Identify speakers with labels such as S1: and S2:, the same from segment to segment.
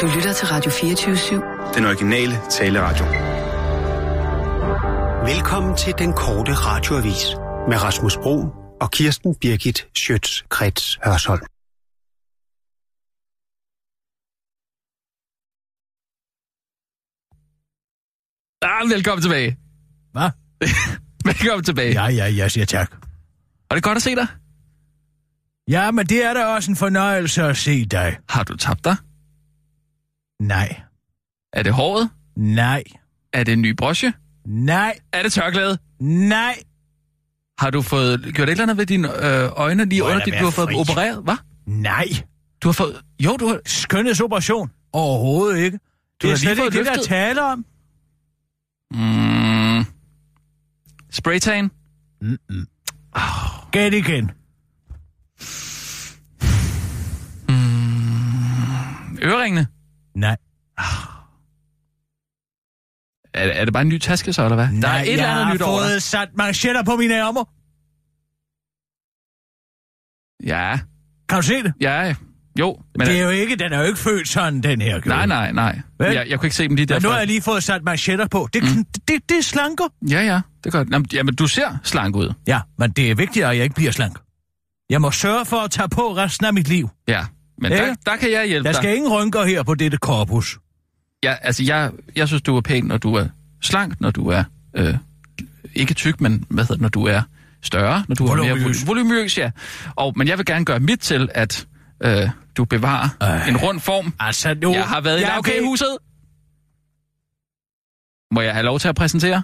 S1: Du lytter til Radio 24-7.
S2: Den originale taleradio.
S3: Velkommen til den korte radioavis med Rasmus Bro og Kirsten Birgit Schøtz-Krets Hørsholm.
S4: Ah, velkommen tilbage.
S5: Hvad?
S4: velkommen tilbage.
S5: Ja, ja, jeg siger tak.
S4: Og det er godt at se dig.
S5: Ja, men det er da også en fornøjelse at se dig.
S4: Har du tabt dig?
S5: Nej.
S4: Er det håret?
S5: Nej.
S4: Er det en ny broche?
S5: Nej.
S4: Er det tørklædet?
S5: Nej.
S4: Har du fået gjort et eller andet ved dine øh, øjne lige
S5: Må jeg
S4: under
S5: da
S4: dit,
S5: være
S4: du har fået
S5: fri?
S4: dem opereret? Hvad?
S5: Nej.
S4: Du har fået... Jo, du har...
S5: Skønhedsoperation? Overhovedet ikke.
S4: Du har
S5: det er
S4: lige
S5: slet
S4: fået
S5: ikke det, der
S4: løftet-
S5: taler om.
S4: Mm. Spraytan?
S5: Gæt igen.
S4: Øreringene?
S5: Nej.
S4: Er, er det bare en ny taske så, eller hvad? der er
S5: Nej,
S4: et eller
S5: jeg
S4: andet nyt
S5: har
S4: over dig.
S5: fået sat manchetter på mine ærmer.
S4: Ja,
S5: Kan du se det?
S4: ja, jo. Men,
S5: det er jo ikke, den er jo ikke født sådan, den her kjole.
S4: nej, nej, nej.
S5: Vel?
S4: Jeg, jeg kunne ikke se dem lige
S5: Men nu
S4: derfor.
S5: har jeg lige fået sat manchetter på. Det, mm. det, det, det slanker.
S4: Ja, ja, det er godt. Jamen, jamen, du ser slank ud.
S5: Ja, men det er vigtigt, at jeg ikke bliver slank. Jeg må sørge for at tage på resten af mit liv.
S4: Ja, men
S5: Ja.
S4: der, der kan jeg hjælpe
S5: Der
S4: dig.
S5: skal ingen rynker her på dette korpus.
S4: Ja, altså, jeg, jeg synes, du er pæn, når du er slank, når du er... Øh, ikke tyk, men hvad hedder det, når du er større, når du er mere
S5: Volumøs.
S4: vol- volumøs, ja. Og, men jeg vil gerne gøre mit til, at øh, du bevarer
S5: Ej.
S4: en rund form.
S5: Altså, nu...
S4: Jeg har været i
S5: Jeg ved-
S4: lavkagehuset. Må jeg have lov til at præsentere?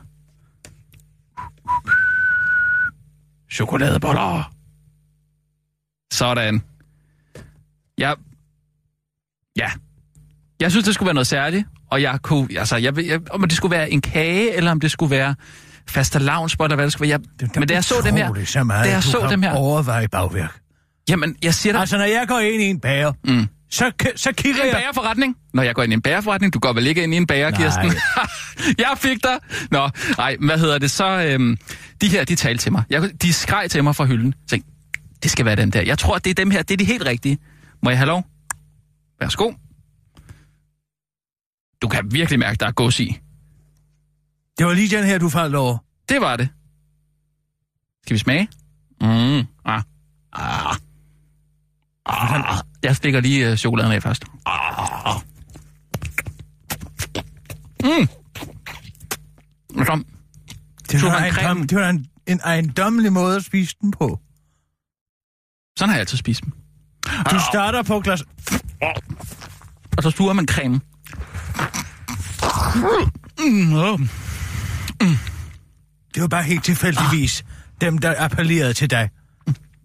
S4: Chokoladeboller. Sådan. Jeg... Ja. Jeg synes, det skulle være noget særligt, og jeg kunne... Altså, jeg, ved- jeg, om det skulle være en kage, eller om det skulle være faste eller hvad det skulle være. Jeg, men da jeg så dem her...
S5: Utroligt Så meget,
S4: da jeg
S5: du
S4: så
S5: kan
S4: dem her...
S5: Overveje bagværk.
S4: Jamen, jeg siger dig...
S5: Altså, når jeg går ind i en bager,
S4: Mm.
S5: så, k- så kigger
S4: en
S5: jeg...
S4: bagerforretning? Når jeg går ind i en bagerforretning, du går vel ikke ind i en bager,
S5: Nej.
S4: Kirsten? jeg fik dig! Nå, nej, hvad hedder det så? Øhm, de her, de talte til mig. Jeg, de skreg til mig fra hylden. Jeg tænkte, det skal være den der. Jeg tror, det er dem her. Det er de helt rigtige. Må jeg have lov? Værsgo. Du kan virkelig mærke, der er gås i.
S5: Det var lige den her, du faldt over.
S4: Det var det. Skal vi smage? Mm. Ah. Ah. Ah. Jeg stikker lige øh, chokoladen af først. Ah. Mm. Hvad så?
S5: Det var,
S4: han
S5: en,
S4: cremen?
S5: dom- det var en, en ejendommelig måde at spise den på.
S4: Sådan har jeg altid spist dem.
S5: Du starter på glas...
S4: Og så suger man cremen. Mm. åh.
S5: Det var bare helt
S4: Ah.
S5: tilfældigvis dem, der appellerede til dig.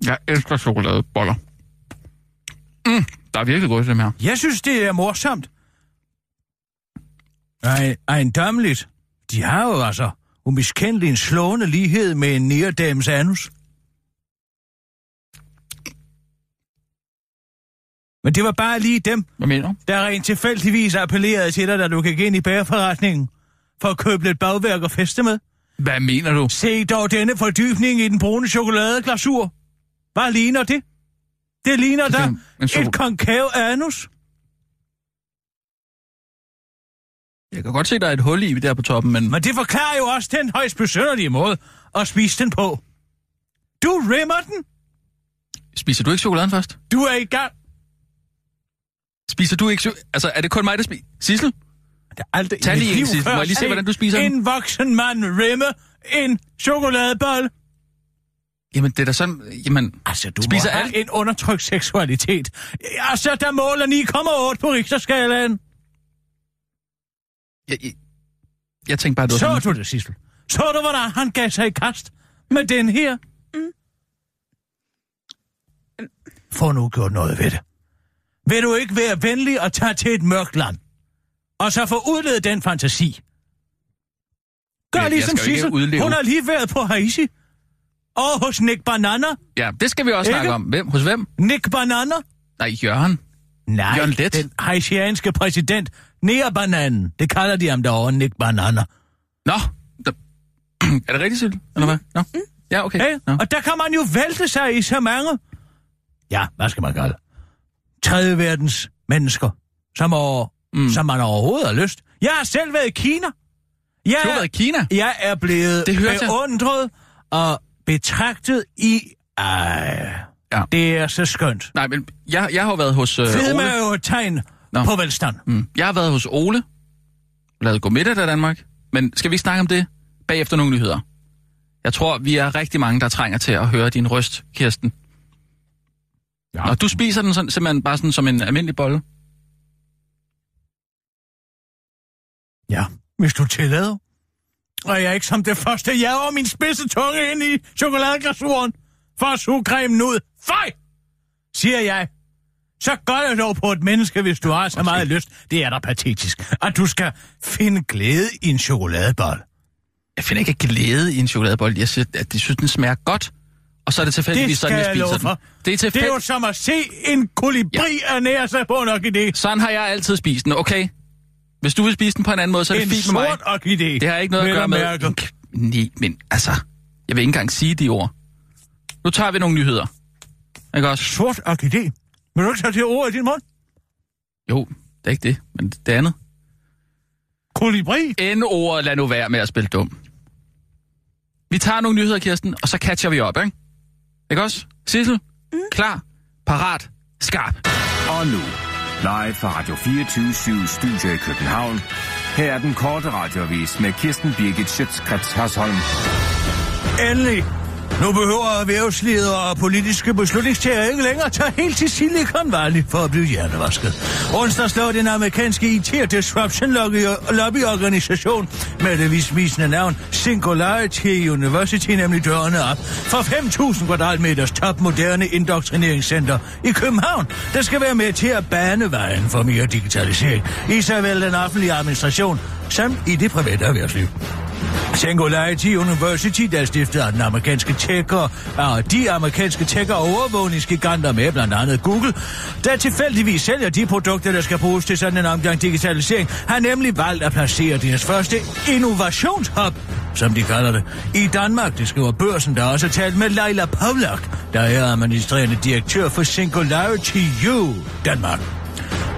S4: Jeg elsker chokoladeboller. Mm. Der er virkelig godt dem her.
S5: Jeg synes, det er morsomt. Ej, ejendommeligt. De har jo altså umiskendeligt en slående lighed med en nærdames anus. Men det var bare lige dem,
S4: Hvad mener du?
S5: der rent tilfældigvis appellerede til dig, da du gik ind i bagerforretningen for at købe lidt bagværk og feste med.
S4: Hvad mener du?
S5: Se dog denne fordybning i den brune chokoladeglasur. Hvad ligner det? Det ligner
S4: Det er
S5: da
S4: en- en choko-
S5: et konkav anus.
S4: Jeg kan godt se, der er et hul i der på toppen, men...
S5: Men det forklarer jo også den højst besynderlige måde at spise den på. Du rimmer den.
S4: Spiser du ikke chokoladen først?
S5: Du er i gang.
S4: Spiser du ikke... sø- Altså, er det kun mig, der spiser... Sissel?
S5: Der er aldrig i
S4: Tag
S5: mit
S4: lige en,
S5: liv
S4: Sissel. Må jeg
S5: før
S4: lige se,
S5: set
S4: hvordan du spiser den?
S5: En voksen mand rimme en chokoladebolle.
S4: Jamen, det er da sådan... Jamen,
S5: Altså, du
S4: Spiser
S5: spiser må
S4: alt?
S5: alt en undertrykt seksualitet. Altså, der måler 9,8 på Richterskalaen.
S4: jeg, jeg, jeg tænkte bare, det var
S5: Så
S4: sådan...
S5: du det, Sissel? Så du, hvordan han gav sig i kast med den her?
S4: Mm.
S5: Få nu gjort noget ved det. Vil du ikke være venlig og tage til et mørkt land? Og så få udledet den fantasi? Gør
S4: Men jeg
S5: ligesom
S4: skal jo ikke
S5: Sissel.
S4: udleve-
S5: Hun har lige været på Haiti. Og hos Nick Banana.
S4: Ja, det skal vi også
S5: Ikke?
S4: snakke om. Hvem? Hos hvem?
S5: Nick Banana?
S4: Nej, Jørgen.
S5: Nej,
S4: Jørgen Leth.
S5: den haitianske præsident. Nea Bananen. Det kalder de ham derovre, Nick Banana.
S4: Nå. da- er det rigtigt, Sissel? Eller hvad? Nå. Ja, okay.
S5: Hey,
S4: Nå.
S5: og der kan man jo vælte sig i så mange. Ja, hvad skal man kalde? Tredje verdens mennesker, som over mm. som man overhovedet har lyst. Jeg har selv været i Kina. Jeg,
S4: Du har været i Kina?
S5: Jeg er blevet
S4: Det
S5: det
S4: hørte jeg.
S5: beundret og betragtet i... Ej,
S4: Ja.
S5: ja. det er så skønt.
S4: Nej, men jeg, jeg har jo været hos øh,
S5: Fedme
S4: Ole.
S5: er jo et tegn
S4: Nå.
S5: Nå. på velstand.
S4: Mm. Jeg har været hos Ole. Lavet god middag der i Danmark. Men skal vi ikke snakke om det bagefter nogle nyheder? Jeg tror, vi er rigtig mange, der trænger til at høre din røst, Kirsten. Ja. Og du spiser den sådan, simpelthen bare sådan som en almindelig bolle.
S5: Ja, hvis du tillader. Og jeg er ikke som det første jager min spidse tunge ind i chokoladeglassuren for at suge cremen ud. Fej! Siger jeg. Så gør jeg dog på et menneske, hvis du har så meget lyst. Det er da patetisk, at du skal finde glæde i en chokoladebold.
S4: Jeg finder ikke glæde i en chokoladebolle. Jeg siger, at de synes, den smager godt. Og så er det tilfældigvis
S5: Det skal
S4: sådan, jeg
S5: jeg
S4: spiser
S5: love
S4: den.
S5: for.
S4: Det er
S5: Det er jo
S4: tilfældigt.
S5: som at se en kolibri ja. ernære sig på en orkidé.
S4: Sådan har jeg altid spist den, okay? Hvis du vil spise den på en anden måde, så er det
S5: En
S4: fint med mig.
S5: sort orkidé.
S4: Det har ikke noget at
S5: vel
S4: gøre med...
S5: mærke.
S4: Nej, men altså... Jeg vil ikke engang sige de ord. Nu tager vi nogle nyheder. Ikke også?
S5: Sort orkidé. Vil du ikke tage det ord i din mund?
S4: Jo, det er ikke det, men det andet.
S5: Kolibri.
S4: N-ordet, lad nu være med at spille dum. Vi tager nogle nyheder, Kirsten, og så catcher vi op, ikke? Ikke også? Sissel, mm. klar, parat, skarp.
S2: Og nu, live fra Radio 24 Studio i København. Her er den korte radiovis med Kirsten Birgit Schøtzgrads Hasholm.
S5: Endelig. Nu behøver erhvervsledere og politiske beslutningstager ikke længere tage helt til Silicon Valley for at blive hjernevasket. Onsdag slår den amerikanske IT Disruption Lobby- Lobbyorganisation med det visvisende navn Singularity University nemlig dørene op for 5.000 kvadratmeters topmoderne indoktrineringscenter i København, der skal være med til at bane vejen for mere digitalisering i såvel den offentlige administration som i det private erhvervsliv. Singularity University, der stiftede af den amerikanske tækker, og de amerikanske tækker og overvågningsgiganter med blandt andet Google, der tilfældigvis sælger de produkter, der skal bruges til sådan en omgang digitalisering, har nemlig valgt at placere deres første innovationshub, som de kalder det, i Danmark. Det skriver børsen, der også har talt med Leila Pavlak, der er administrerende direktør for Singularity U Danmark.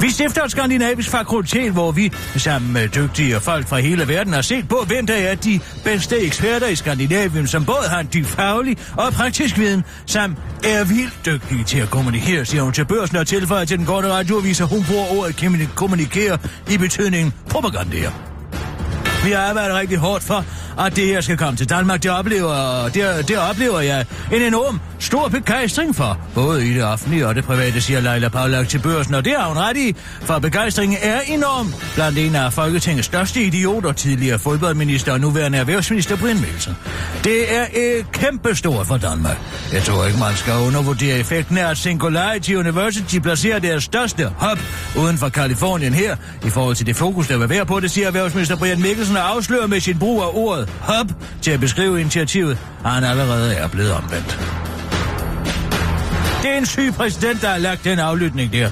S5: Vi stifter et skandinavisk fakultet, hvor vi sammen med dygtige folk fra hele verden har set på, hvem der er de bedste eksperter i Skandinavien, som både har en dyb faglig og praktisk viden, samt er vildt dygtige til at kommunikere, siger hun til børsen og tilføjer til den korte radioavis, at hun bruger ordet kommuni- kommunikere i betydningen propagandere. Vi har arbejdet rigtig hårdt for, at det her skal komme til Danmark. Det oplever, det, det oplever jeg en enorm stor begejstring for. Både i det offentlige og det private, siger Leila Paulak til børsen, og det har hun ret i, for begejstringen er enorm. Blandt en af Folketingets største idioter, tidligere fodboldminister og nuværende erhvervsminister Brian Mikkelsen. Det er øh, kæmpestort for Danmark. Jeg tror ikke, man skal undervurdere effekten af, at Singularity University placerer deres største hub uden for Kalifornien her, i forhold til det fokus, der vil være på det, siger erhvervsminister Brian Mikkelsen og afslører med sin brug af ordet hub til at beskrive initiativet, at han allerede er blevet omvendt. Det er en syg præsident, der har lagt den aflytning der.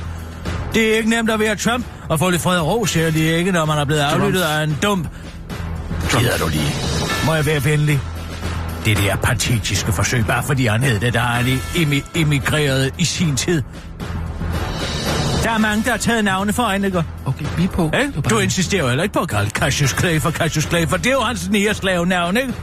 S5: Det er ikke nemt at være Trump og få lidt fred og ro, siger de ikke, når man er blevet aflyttet af en dump. Gider du lige? Må jeg være venlig? Det der patetiske forsøg, bare fordi han hed det, der er lige emi- emigreret i sin tid. Der er mange, der har taget navne for en, ikke?
S4: Okay, vi er på.
S5: Ikke? Du insisterer jo heller ikke på at kalde Cassius Clay for Cassius Clay, for det er jo hans nære navn, ikke?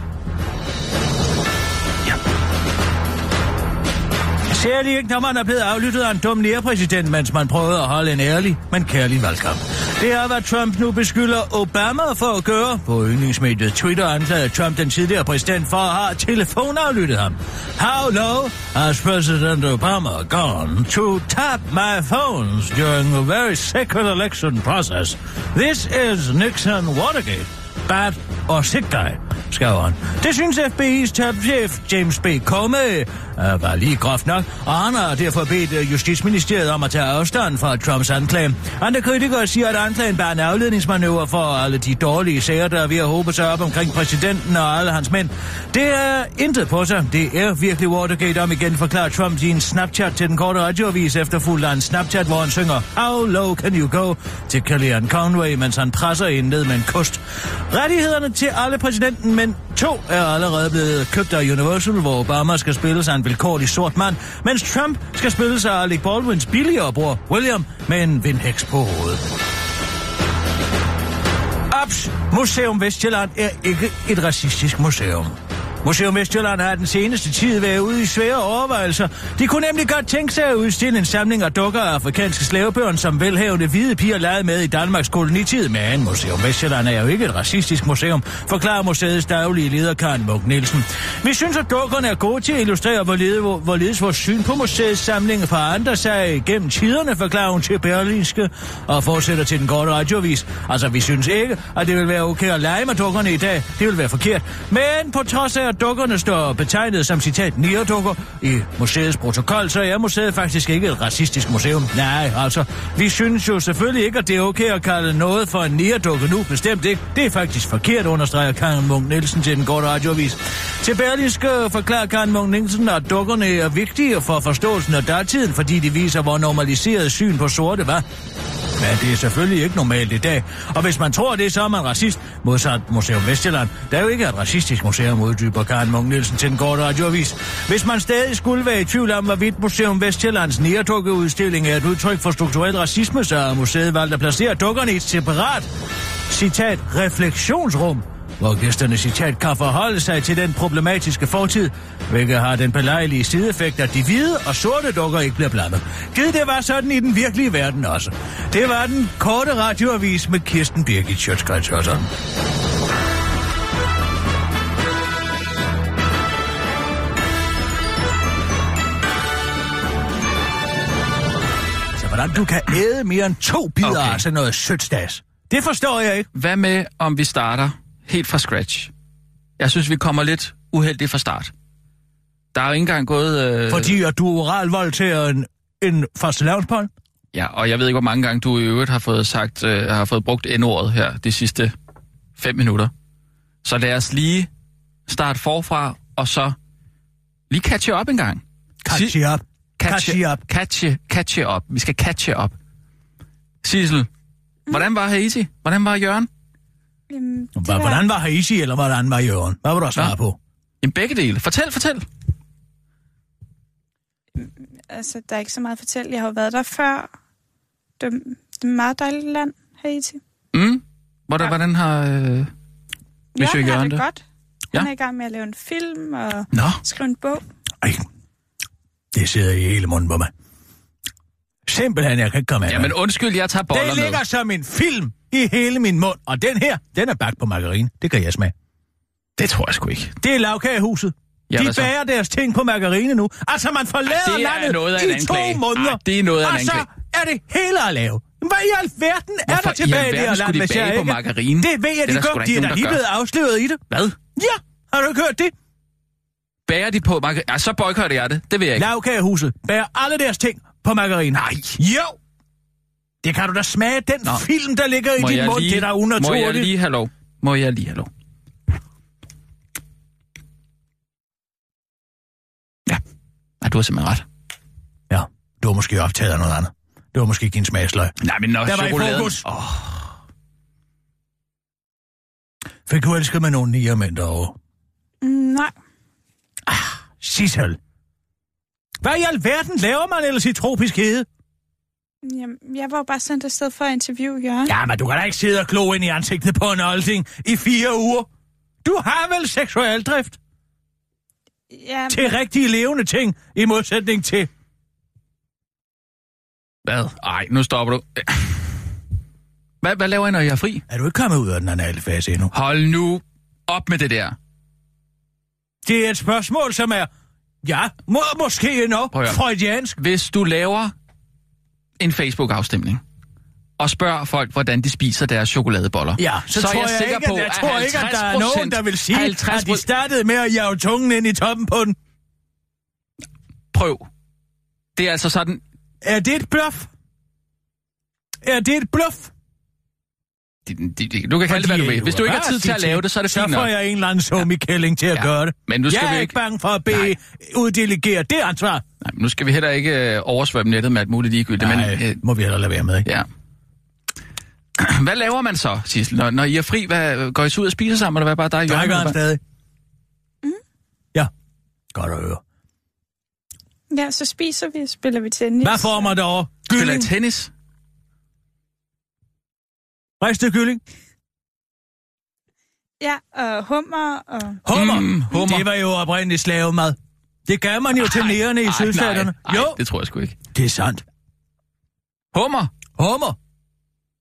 S5: Særligt ikke, når man er blevet aflyttet af en dum nærpræsident, mens man prøvede at holde en ærlig, men kærlig valgkamp. Det er, hvad Trump nu beskylder Obama for at gøre. På yndlingsmediet Twitter anklagede Trump den tidligere præsident for at have telefonaflyttet ham. How low has President Obama gone to tap my phones during a very secret election process? This is Nixon Watergate bad og sick guy, skrev han. Det synes FBI's topchef James B. Comey øh, var lige groft nok, og han har derfor bedt øh, Justitsministeriet om at tage afstand fra Trumps anklage. Andre kritikere siger, at anklagen bare er en afledningsmanøvre for alle de dårlige sager, der er ved at håbe sig op omkring præsidenten og alle hans mænd. Det er intet på sig. Det er virkelig Watergate om igen, forklarer Trump i en Snapchat til den korte radioavis efterfulgt af en Snapchat, hvor han synger How low can you go? til Kellyanne Conway, mens han presser hende ned med en kost. Rettighederne til alle præsidenten, men to er allerede blevet købt af Universal, hvor Obama skal spille sig en vilkårlig sort mand, mens Trump skal spille sig Alec Baldwins billigere bror, William, med en vindhæks på hovedet. Paps Museum Vestjylland er ikke et racistisk museum. Museum Vestjylland har den seneste tid været ude i svære overvejelser. De kunne nemlig godt tænke sig at udstille en samling af dukker af afrikanske slavebørn, som velhavende hvide piger legede med i Danmarks kolonitid. Men Museum Vestjylland er jo ikke et racistisk museum, forklarer museets daglige leder Karen Munk Nielsen. Vi synes, at dukkerne er gode til at illustrere, hvorledes, hvor- hvorledes vores syn på museets samling forandrer sig gennem tiderne, forklarer hun til Berlinske og fortsætter til den korte radiovis. Altså, vi synes ikke, at det vil være okay at lege med dukkerne i dag. Det vil være forkert. Men på trods af, at dukkerne står betegnet som citat nierdukker i museets protokol, så er museet faktisk ikke et racistisk museum. Nej, altså, vi synes jo selvfølgelig ikke, at det er okay at kalde noget for en nierdukke nu. Bestemt ikke. Det er faktisk forkert, understreger Karen Munk Nielsen til den korte radioavis. Til Berlingske forklarer Karen Munk Nielsen, at dukkerne er vigtige for forståelsen af datiden, fordi de viser, hvor normaliseret syn på sorte var. Men det er selvfølgelig ikke normalt i dag. Og hvis man tror det, så er man racist. Modsat Museum Vestjylland, der er jo ikke et racistisk museum, uddyber Karen Munk Nielsen til den korte radioavis. Hvis man stadig skulle være i tvivl om, hvorvidt Museum Vestjyllands nærdukke udstilling er et udtryk for strukturel racisme, så har museet valgt at placere dukkerne i et separat, citat, refleksionsrum, hvor gæsterne citat kan forholde sig til den problematiske fortid, hvilket har den belejlige sideeffekt, at de hvide og sorte dukker ikke bliver blandet. Gid det var sådan i den virkelige verden også. Det var den korte radioavis med Kirsten Birgit Sjøtskrets Hørsholm. Så hvordan du kan æde mere end to bidder okay.
S4: Okay.
S5: af sådan noget sødstads? Det forstår jeg ikke.
S4: Hvad med, om vi starter helt fra scratch? Jeg synes, vi kommer lidt uheldigt fra start. Der er jo ikke engang gået... Øh,
S5: Fordi at du oral voldtager en, en fastelavnsbold?
S4: Ja, og jeg ved ikke, hvor mange gange du i øvrigt har fået, sagt, øh, har fået brugt N-ordet her de sidste fem minutter. Så lad os lige starte forfra, og så lige catche op en gang.
S5: Catch you up. Catch you up.
S4: Catche, catche op. Vi skal catche op. Sissel, hvordan var Haiti? Hvordan var Jørgen?
S6: Jamen, det
S5: Hva-
S6: var-
S5: Hvordan var Haiti, eller hvordan var Jørgen? Hvad var du svare
S4: Nå.
S5: på?
S4: Jamen begge dele. Fortæl, fortæl.
S6: Altså, der er ikke så meget at fortælle. Jeg har jo været der før. Det, det er et meget dejligt land, Haiti.
S4: Mm? Hvordan, hvordan har... Øh... Hvis
S6: Jørgen
S4: ikke
S6: har
S4: Jørgen
S6: det
S4: det.
S6: godt. Han
S4: Ja.
S6: er i gang med at lave en film og
S4: Nå,
S6: skrive en bog.
S5: Ej, det sidder i hele munden på mig. Simpelthen, jeg kan ikke komme af med
S4: jamen undskyld, jeg tager boller
S5: Det
S4: med.
S5: ligger som en film i hele min mund, og den her, den er bagt på margarine. Det kan jeg smage.
S4: Det tror jeg sgu ikke.
S5: Det er lavkagehuset.
S4: Ja,
S5: de
S4: hvad så?
S5: bager deres ting på margarine nu. Altså, man forlader
S4: Ej, det er
S5: landet
S4: noget af en
S5: i
S4: anklage.
S5: to måneder.
S4: Ej, det er noget af en
S5: og så
S4: anklage.
S5: er det hele at lave. Men Hvad i alverden er
S4: Hvorfor
S5: der
S4: i
S5: tilbage i
S4: alverden
S5: det her land,
S4: skulle de
S5: hvis jeg
S4: bage på
S5: ikke...
S4: margarine?
S5: Det ved jeg,
S4: Det er
S5: de
S4: der sgu da
S5: gør. De
S4: ikke
S5: er da
S4: nogen,
S5: lige
S4: der gør.
S5: blevet afsløret i det.
S4: Hvad?
S5: Ja, har du ikke hørt det?
S4: Bærer de på markedet? Ja, så boykotter jeg det. Det vil jeg ikke.
S5: Lavkagehuset bærer alle deres ting på margarine. Nej. Jo! Det kan du da smage, den Nå.
S4: Nå.
S5: film, der ligger i
S4: Må
S5: din
S4: jeg
S5: mund.
S4: lige-
S5: Det er da
S4: Må jeg
S5: unaturligt.
S4: lige have lov? Må jeg lige have lov? Ja. Ej, du har simpelthen ret.
S5: Ja, du var måske optaget af noget andet. Det var måske ikke din smagsløg.
S4: Nej, men når
S5: Der var i
S4: chokoladen...
S5: fokus.
S4: Åh,
S5: Fik du elsket med nogle nier mænd derovre?
S6: Mm, nej,
S5: Sissel. Hvad i alverden laver man ellers i tropisk hede?
S6: Jamen, jeg var jo bare sendt afsted for at interviewe Jørgen.
S5: Ja, men du kan da ikke sidde og glo ind i ansigtet på en olding i fire uger. Du har vel seksuel drift
S6: Ja,
S5: til rigtige levende ting, i modsætning til...
S4: Hvad? Ej, nu stopper du. Hvad, hvad laver I, når jeg er fri?
S5: Er du ikke kommet ud af den anale fase endnu?
S4: Hold nu op med det der.
S5: Det er et spørgsmål, som er, ja, må, måske endnu
S4: Prøv at høre.
S5: freudiansk.
S4: Hvis du laver en Facebook-afstemning, og spørger folk, hvordan de spiser deres chokoladeboller.
S5: Ja, så, så tror jeg, jeg
S4: sikker
S5: ikke,
S4: på,
S5: at, jeg tror ikke, at der er
S4: 50%,
S5: nogen, der vil sige,
S4: 50
S5: at de startede med at jage tungen ind i toppen på den.
S4: prøv. Det er altså sådan,
S5: Er det et bluff? Er det et bluff?
S4: de, de, de, du kan kalde det, hvad
S5: Fordi
S4: du vil. Hvis du ikke har tid til at lave det, så er det
S5: så
S4: fint
S5: får
S4: nok.
S5: jeg en eller anden sum i kælling til at
S4: Ja.
S5: gøre det.
S4: Men nu skal
S5: jeg
S4: vi
S5: er
S4: ikke-
S5: ikke bange for at bede uddelegere det ansvar.
S4: Nej, men nu skal vi heller ikke øh, oversvømme nettet med alt muligt ligegyldigt.
S5: Nej,
S4: Men, øh,
S5: må vi heller lade være med, ikke?
S4: ja. Hvad laver man så, Sissel? Når, når I er fri, hvad, går I så ud og spiser sammen, eller hvad bare dig? og Jørgen,
S5: Drikker
S4: eller hvad?
S5: han stadig? Ja, godt at høre.
S6: ja, så spiser vi, spiller vi tennis.
S5: Hvad får man derovre?
S4: Spiller I
S5: Gylling?
S4: tennis?
S5: Ristet kylling?
S6: Ja, og hummer og...
S5: Hummer.
S4: Mm, hummer.
S5: Det var jo oprindeligt slavemad. Det gav man jo til nærerne i
S4: Ej,
S5: sydstaterne.
S4: nej, ej,
S5: Jo,
S4: det tror jeg sgu ikke.
S5: det er sandt.
S4: Hummer!
S5: Hummer.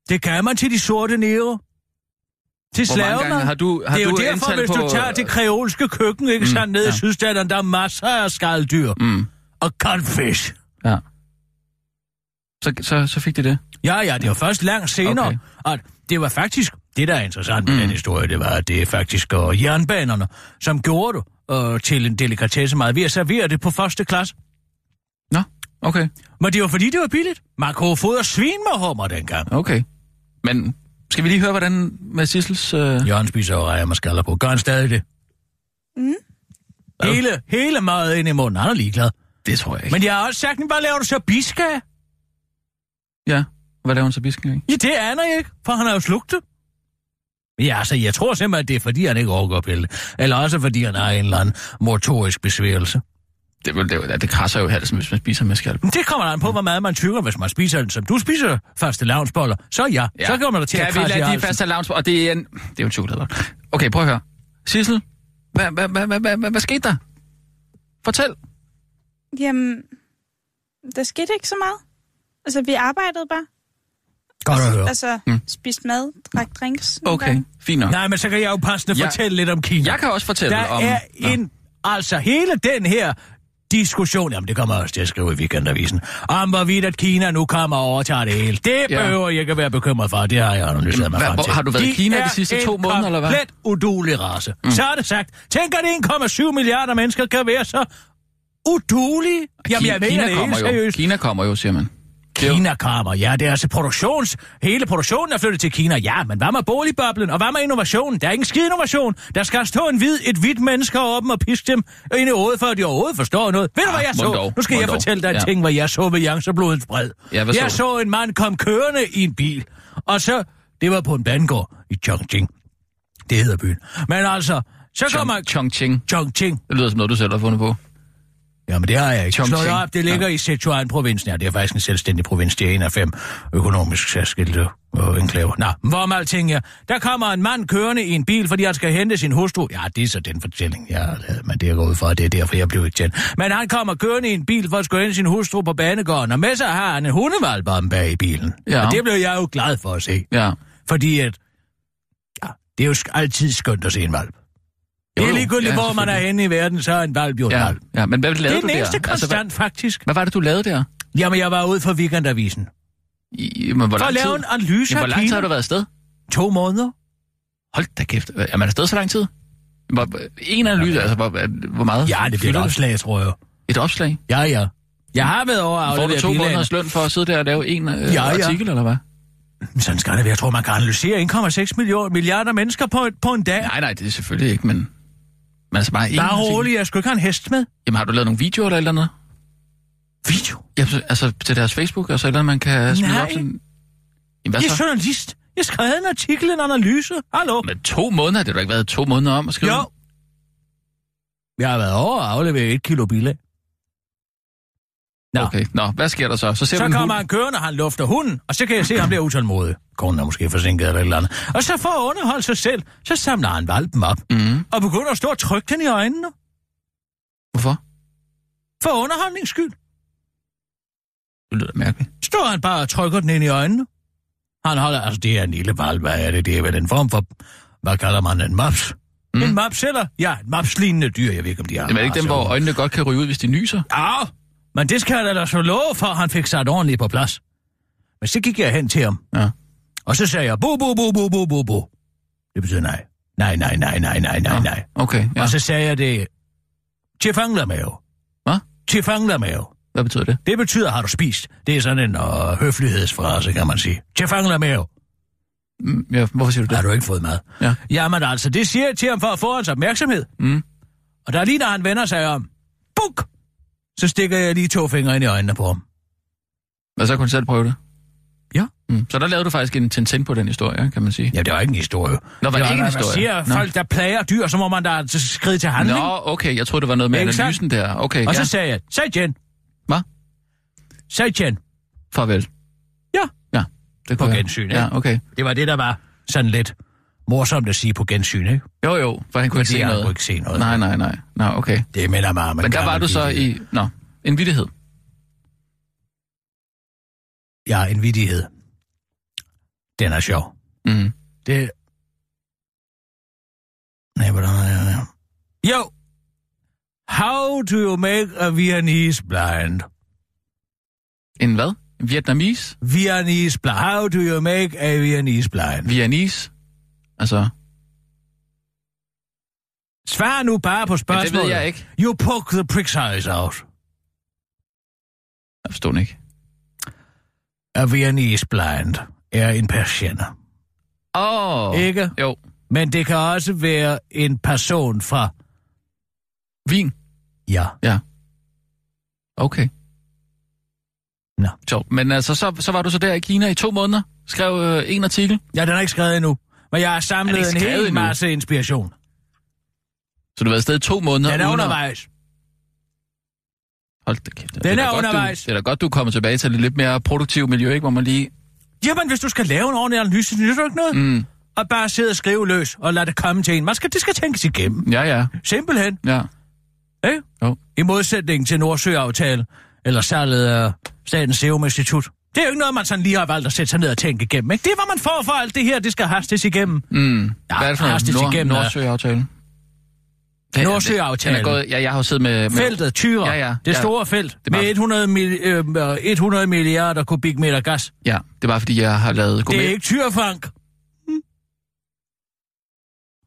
S5: Det gav man til de sorte nære. Til
S4: Hvor mange
S5: slavemad.
S4: gange har du, har
S5: det er
S4: du
S5: jo derfor,
S4: antal
S5: hvis
S4: på...
S5: du tager det kreolske køkken, ikke mm, sandt, nede ja. i sydstaterne, der er masser af skalddyr.
S4: Mm.
S5: Og confish.
S4: Ja. Så, så, så fik de det.
S5: Ja, ja, det var først langt senere,
S4: Okay.
S5: okay. at det var faktisk, det der er interessant med mm. den historie, det var, at det er faktisk uh, jernbanerne, som gjorde det uh, til en delikatesse meget ved at servere det på første klasse.
S4: Nå, okay.
S5: Men det var fordi, det var billigt. Man kunne fodre svin med hummer dengang.
S4: Okay. Men skal vi lige høre, hvordan med Sissels... Øh...
S5: Jørgen spiser jo rejer med skaller på. Gør han stadig det? Mm. Hele, hele meget ind i munden. Han er ligeglad.
S4: Det tror jeg ikke.
S5: Men jeg har også sagt, hvad laver du så biska?
S4: Ja. Hvad laver hun så bisken, ikke?
S5: Ja, det aner jeg ikke, for han har jo slugt det. Ja, altså, jeg tror simpelthen, at det er, fordi han ikke overgår pille. Eller også, fordi han har en eller anden motorisk besværelse.
S4: Det, vil- det, det, det krasser jo i halsen, hvis man spiser med skalp.
S5: Men Det kommer an på, hvor meget man tykker, hvis man spiser den, som du spiser faste lavnsboller. Så ja, ja. så kommer der til at
S4: Kan vi
S5: krasse i
S4: lade de
S5: halsen.
S4: faste lounge... Og det er en... Det er jo en chokoladevold. Okay, prøv at høre. Sissel, hvad, hvad, hvad, hvad, hvad, hvad, hvad skete der? Fortæl.
S6: Jamen, der skete ikke så meget. Altså, vi arbejdede bare.
S5: Godt at høre.
S6: Altså, mm. spiste mad, drak drinks. nogle
S4: Okay,
S6: gange.
S4: fint nok.
S5: Nej, men så kan jeg jo passende
S4: Ja.
S5: ja. fortælle lidt om Kina.
S4: Jeg kan også fortælle
S5: der
S4: om...
S5: er
S4: Nå.
S5: en... Altså, hele den her diskussion, jamen det kommer jeg også til at skrive i weekendavisen, om hvorvidt at Kina nu kommer og overtager det hele. Det
S4: Ja.
S5: ja. behøver jeg ikke at være bekymret for, det har jeg analyseret mig
S4: Hvad-
S5: frem
S4: hvor-
S5: til.
S4: har du været i Kina de sidste to måneder, eller hvad?
S5: komplet udulig race. Mm. Så er det sagt, tænk at 1,7 milliarder mennesker kan være så udulige. Jamen, jeg
S4: Ki-
S5: mener det
S4: kommer
S5: helt
S4: jo.
S5: seriøst.
S4: Kina kommer jo, siger man. Det er jo-
S5: Kina kommer, ja, det er altså produktions... Hele produktionen er flyttet til Kina, ja, men hvad med boligboblen, og hvad med innovationen? Der er ingen skide innovation. Der skal altså stå en hvid, et hvidt menneske op og piske dem ind i hovedet, før de overhovedet forstår noget. Ved du,
S4: Ah,
S5: hvad jeg
S4: mon
S5: så?
S4: dog,
S5: nu skal
S4: mon
S5: jeg
S4: dog.
S5: fortælle dig en
S4: Ja.
S5: ting, hvad jeg så ved Janserblodens bred.
S4: Ja, hvad så
S5: jeg
S4: du?
S5: så en mand kom kørende i en bil, og så... Det var på en bandgård i Chongqing. Det hedder byen. Men altså, så kommer...
S4: Chong- Chongqing.
S5: Chongqing.
S4: Det lyder som noget, du selv har fundet på.
S5: Jamen, det har jeg ikke.
S4: Chongqing.
S5: Slå det op. Det ligger ja. i Sichuan-provinsen. Ja, det er faktisk en selvstændig provins. Det er en af fem økonomisk særskilte øh, enklaver. Nå, hvor meget ting jeg. Der kommer en mand kørende i en bil, fordi han skal hente sin hustru. Ja, det er så den fortælling, jeg har lavet, men det er gået ud fra, det er derfor, jeg blev ikke tændt. Men han kommer kørende i en bil for at skulle hente sin hustru på banegården, og med sig har han en hundevalg bag i bilen.
S4: Ja.
S5: Og det blev jeg jo glad for at se.
S4: Ja.
S5: Fordi at, ja, det er jo sk- altid skønt at se en valg. Det er
S4: jo,
S5: ligegyldigt,
S4: ja,
S5: hvor man er
S4: selvfølgelig.
S5: henne i verden, så er en valg jo en
S4: Ja,
S5: hvalp.
S4: ja. men hvad
S5: Det
S4: lavede
S5: er
S4: du
S5: den
S4: der? Altså,
S5: eneste
S4: hvad,
S5: konstant, faktisk.
S4: hvad var det, du lavede der?
S5: Altså, Jamen, jeg var ude for weekendavisen.
S4: I, men hvor
S5: For at
S4: lang tid?
S5: lave en analyse
S4: Ja, hvor
S5: af
S4: lang tid har du
S5: Kina.
S4: været afsted?
S5: To måneder.
S4: Hold da kæft. Er man afsted så lang tid? Hvor, en analyse, altså hvor, hvor meget?
S5: Ja, det bliver et
S4: fylder
S5: opslag, tror jeg.
S4: Et opslag?
S5: Ja, ja. Jeg har været over at
S4: Får du
S5: aflevere
S4: to
S5: bilagene.
S4: måneders løn for at sidde der og lave en øh,
S5: Ja, ja.
S4: artikel, eller hvad?
S5: Men Sådan skal det være. Jeg tror, man kan analysere 1,6 millioner milliarder mennesker på, et- på en dag.
S4: Nej, nej, det er selvfølgelig ikke, men... Men altså bare en
S5: Bare
S4: artikel.
S5: rolig, jeg skulle ikke have en hest med.
S4: Jamen har du lavet nogle videoer eller et eller andet?
S5: Video.
S4: Ja, så- altså til deres Facebook, og så et eller andet, man kan smide
S5: Nej.
S4: op sådan... Jamen, hvad
S5: Jeg er
S4: så?
S5: journalist. Jeg skrev en artikel, en analyse. Hallo.
S4: Men to måneder, det har du ikke været to måneder om at skrive?
S5: Jo. Jeg har været over at aflevere et kilo bilag. Nå.
S4: Okay, nå, hvad sker der så? Så ser
S5: Så
S4: man
S5: kommer han kørende, han lufter hunden, og så kan jeg se, at han bliver utålmodig. Konen er måske forsinket eller et eller andet. Og så for at underholde sig selv, så samler han valpen op
S4: Mm,
S5: og begynder at stå og trykke den i øjnene.
S4: hvorfor?
S5: For underholdnings skyld
S4: Det lyder mærkeligt.
S5: står han bare og trykker den ind i øjnene. Han holder, altså det er en lille valp, hvad er det? Det er vel en form for, hvad kalder man en maps?
S4: Mm.
S5: Mm. En maps eller? Ja, en maps-lignende dyr, jeg ved ikke, om de har.
S4: Jamen, er det ikke dem,
S5: racer.
S4: hvor øjnene godt kan ryge ud, hvis de nyser?
S5: Ja, men det skal jeg da så love for, at han fik sat ordentligt på plads. Men så gik jeg hen til ham.
S4: Ja.
S5: Og så sagde jeg, bu, bu, bu, bu, bu, bu, bu. Det betyder nej. Nej, nej, nej, nej, nej, nej, nej.
S4: Okay,
S5: Ja.
S4: ja.
S5: Og så sagde jeg det, tjefanglermave.
S4: Hvad?
S5: Tjefanglermave.
S4: Hvad betyder det?
S5: Det betyder, har du spist. Det er sådan en øh, høflighedsfrase, kan man sige. Tjefanglermave.
S4: Mm, Ja, hvorfor siger du det?
S5: Har du ikke fået mad?
S4: Ja.
S5: Jamen altså, det siger jeg til ham for at få hans opmærksomhed.
S4: Mm.
S5: Og der lige når han vender sig om, buk, så stikker jeg lige to fingre ind i øjnene på ham.
S4: Og så kunne du selv prøve det?
S5: Ja.
S4: Mm. Så der lavede du faktisk en tintin på den historie, kan man sige.
S5: Ja, det var ikke en historie.
S4: Nå, var det ikke en
S5: hvad
S4: historie?
S5: siger
S4: Nå.
S5: folk, der plager dyr, så må man da skride til handling.
S4: Nå, okay, jeg troede, det var noget med
S5: Ikke sandt?
S4: analysen der. Okay,
S5: og
S4: ja.
S5: så sagde jeg, sag igen.
S4: Hvad?
S5: Sag igen.
S4: Farvel.
S5: Ja.
S4: Ja. Det
S5: På
S4: kunne jeg.
S5: gensyn, ikke?
S4: Ja, okay.
S5: Det var det, der var sådan lidt Morsomt at sige på gensyn, ikke?
S4: Jo, jo, for han kunne ikke
S5: Fordi
S4: se
S5: han
S4: noget.
S5: kunne ikke se noget.
S4: Nej, nej, nej. Nå, okay.
S5: Det melder mig,
S4: Men der var du så i... Nå, en vittighed.
S5: Ja, en vidighed. Den er sjov.
S4: Mm.
S5: Det... Nej, hvordan er det? her? Jo! How do you make a Viennese blind?
S4: En hvad? En Vietnamese?
S5: Viennese blind. How do you make a Viennese blind?
S4: Viennese? Altså,
S5: Svar nu bare på
S4: men
S5: spørgsmålet.
S4: det ved jeg ikke.
S5: You poke the prick's eyes out.
S4: Jeg forstår den ikke.
S5: A Viennese blind er en persienner.
S4: Åh! Oh,
S5: Ikke?
S4: Jo.
S5: Men det kan også være en person fra...
S4: Vin?
S5: Ja.
S4: Okay.
S5: Nå.
S4: Så, men altså, så, så var du så der i Kina i to måneder, skrev øh, en artikel,
S5: Ja, den er ikke skrevet endnu. Men jeg har
S4: Er den
S5: samlet
S4: ikke
S5: en
S4: skrevet
S5: hel
S4: endnu?
S5: masse inspiration.
S4: så du var afsted i to måneder.
S5: Den er
S4: uden at-
S5: undervejs.
S4: Hold da kæft. Den
S5: er undervejs.
S4: Godt, du, det er da godt, du er kommet tilbage til et lidt mere produktivt miljø, ikke? Hvor man lige...
S5: Jamen, hvis du skal lave en ordentlig analyse, så nytter du ikke noget. Mm.
S4: Mm,
S5: Og bare sidde og skrive løs og lade det komme til en. Man skal, det skal tænkes igennem.
S4: ja, ja,
S5: Simpelthen.
S4: ja.
S5: Ikke?
S4: Jo.
S5: I modsætning til Nordsjøaftalen eller salget af Statens Serum Institut. Det er jo ikke noget, man sådan lige har valgt at sætte sig ned og tænke igennem. Ikke? Det er, hvad man får for alt det her. Det skal hastes igennem.
S4: Mm.
S5: Ja,
S4: Hvad er det for noget?
S5: hastes
S4: Nord,
S5: igennem, ja.
S4: Nordsøaftalen. Den-
S5: Nordsøaftalen.
S4: den er gået- Ja, jeg har jo siddet med... med
S5: Feltet, tyre.
S4: Ja, ja.
S5: Det
S4: Ja.
S5: store felt
S4: er
S5: det
S4: bare-
S5: med 100, mil, øh, øh, 100 milliarder kubikmeter gas.
S4: Ja, det var fordi, jeg har lavet...
S5: Det er ikke tyrefank.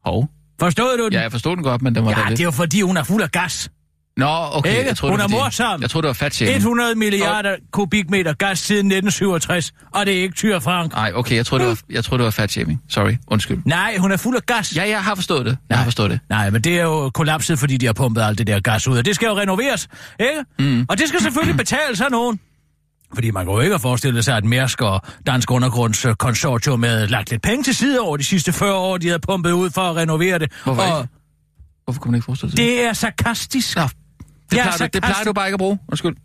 S4: Hov.
S5: Forstod du den?
S4: Ja, jeg forstod den godt, men den var da
S5: ja
S4: lidt...
S5: det er jo fordi, hun er fuld af gas.
S4: Nå, okay.
S5: Ikke?
S4: Jeg troede, det
S5: Hun
S4: var
S5: er
S4: fordi-
S5: morsom.
S4: Jeg troede, det var fat
S5: 100 milliarder kubikmeter gas siden 1967, og det er ikke Tyre Frank.
S4: Nej, okay, jeg troede, det var, jeg troede, det var fat shaming. Sorry, undskyld.
S5: Nej, hun er fuld af gas.
S4: Ja, jeg har forstået det. Jeg har forstået det.
S5: Nej, men det er jo kollapset, fordi de har pumpet alt det der gas ud, og det skal jo renoveres, ikke? Mm. Og det skal selvfølgelig betales af nogen. Fordi man kan jo ikke forestille sig, at Mærsk og Dansk Undergrunds øh, Konsortium havde lagt lidt penge til side over de sidste 40 år, de havde pumpet ud for at renovere det.
S4: Hvorfor
S5: og
S4: ikke? Hvorfor kunne man ikke forestille sig det?
S5: det er sarkastisk.
S4: Nå, det,
S5: Ja,
S4: plejer, du, det
S5: sarkastisk.
S4: plejer du bare ikke at bruge. Undskyld.